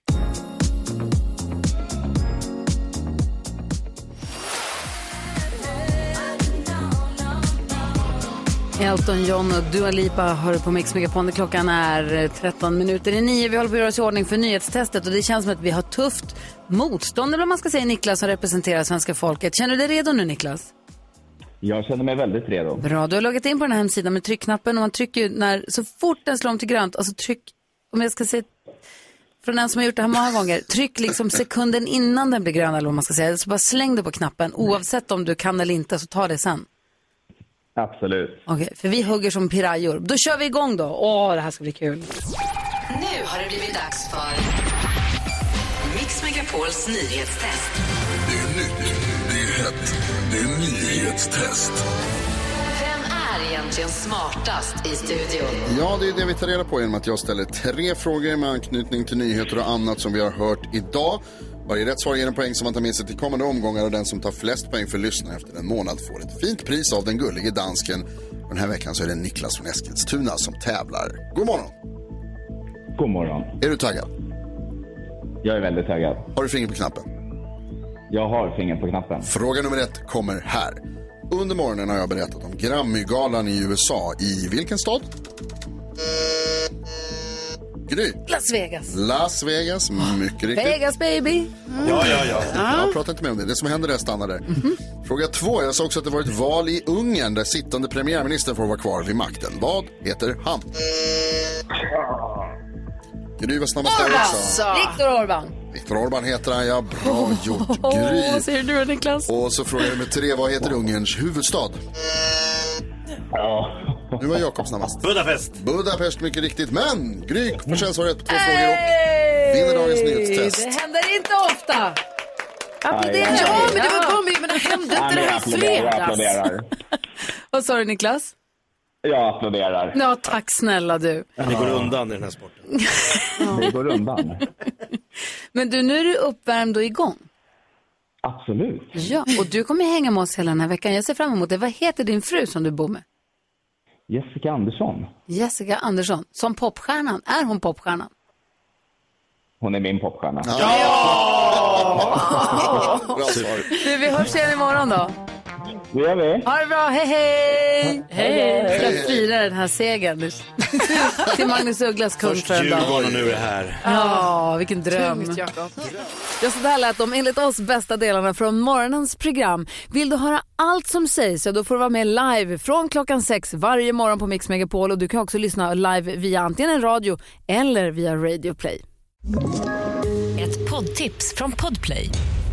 Elton John och Dua Lipa hör på Mix Megapone. Klockan är eh, 13 minuter i nio. Vi håller på att göra oss i ordning för nyhetstestet och det känns som att vi har tufft motstånd, eller vad man ska säga, Niklas som representerar svenska folket. Känner du dig redo nu, Niklas?
Jag känner mig väldigt redo.
Bra, du har loggat in på den här hemsidan med tryckknappen och man trycker ju när, så fort den slår om till grönt, alltså tryck, om jag ska säga från den som har gjort det här många gånger, tryck liksom sekunden innan den blir grön eller vad man ska säga. Så bara släng det på knappen, oavsett om du kan eller inte, så ta det sen.
Absolut.
Okej, för vi hugger som pirajor. Då kör vi igång då. Åh, det här ska bli kul.
Nu har det blivit dags för Mix Megapols nyhetstest. Det är nytt, det är hett, det är nyhetstest. Vem är egentligen smartast i studion?
Ja, det är det vi tar reda på genom att jag ställer tre frågor med anknytning till nyheter och annat som vi har hört idag. Varje rätt svar ger en poäng som man tar med sig till kommande omgångar och den som tar flest poäng för lyssnare efter en månad får ett fint pris av den gullige dansken. Och den här veckan så är det Niklas från Eskilstuna som tävlar. God morgon!
God morgon.
Är du taggad?
Jag är väldigt taggad.
Har du fingret på knappen?
Jag har fingret på knappen.
Fråga nummer ett kommer här. Under morgonen har jag berättat om Grammygalan i USA. I vilken stad? Gry.
Las Vegas.
Las Vegas, mycket riktigt.
Vegas baby.
Jag pratar inte mer om det. Det som händer där stannar där.
Mhm.
Fråga två. Jag sa också att det var ett val i Ungern där sittande premiärminister får vara kvar vid makten. Vad heter han? Gry var snabbast där också.
Viktor Orban.
Viktor Orban heter han, ja. Bra gjort, Gry.
Åh, ser du Niklas?
Och så frågar nummer tre. Vad heter Ungerns huvudstad? Nu var Jakob snabbast.
Budapest.
Budapest, mycket riktigt. Men Gry Forssell svarar rätt på två frågor och vinner dagens nyhetstest.
Det händer inte ofta. Applåderar.
oh,
Aj,
Ja,
aj,
men det var bra med, men det hände inte det här i fredags.
Vad sa du Niklas?
Jag applåderar.
Ja, tack snälla du.
Det går undan i den här sporten.
Det går undan.
Men du, nu är du uppvärmd och igång.
Absolut.
Ja, och du kommer hänga med oss hela den här veckan. Jag ser fram emot det. Vad heter din fru som du bor med?
Jessica Andersson.
Jessica Andersson. Som popstjärnan. Är hon popstjärnan?
Hon är min popstjärna.
Bra Du, vi hörs igen imorgon då.
Det gör vi.
Ha det bra, hej hej!
Hej.
Vi ska fira den här segern. Till Magnus Ugglas kung
Först
för en dag.
Djurgården och nu är det här.
Ja, vilken dröm.
Tungt, Jakob.
Ja, så där lät de enligt oss bästa delarna från morgonens program. Vill du höra allt som sägs så då får du vara med live från klockan sex varje morgon på Mix Megapol och du kan också lyssna live via antingen en radio eller via Radio Play.
Ett poddtips från Podplay.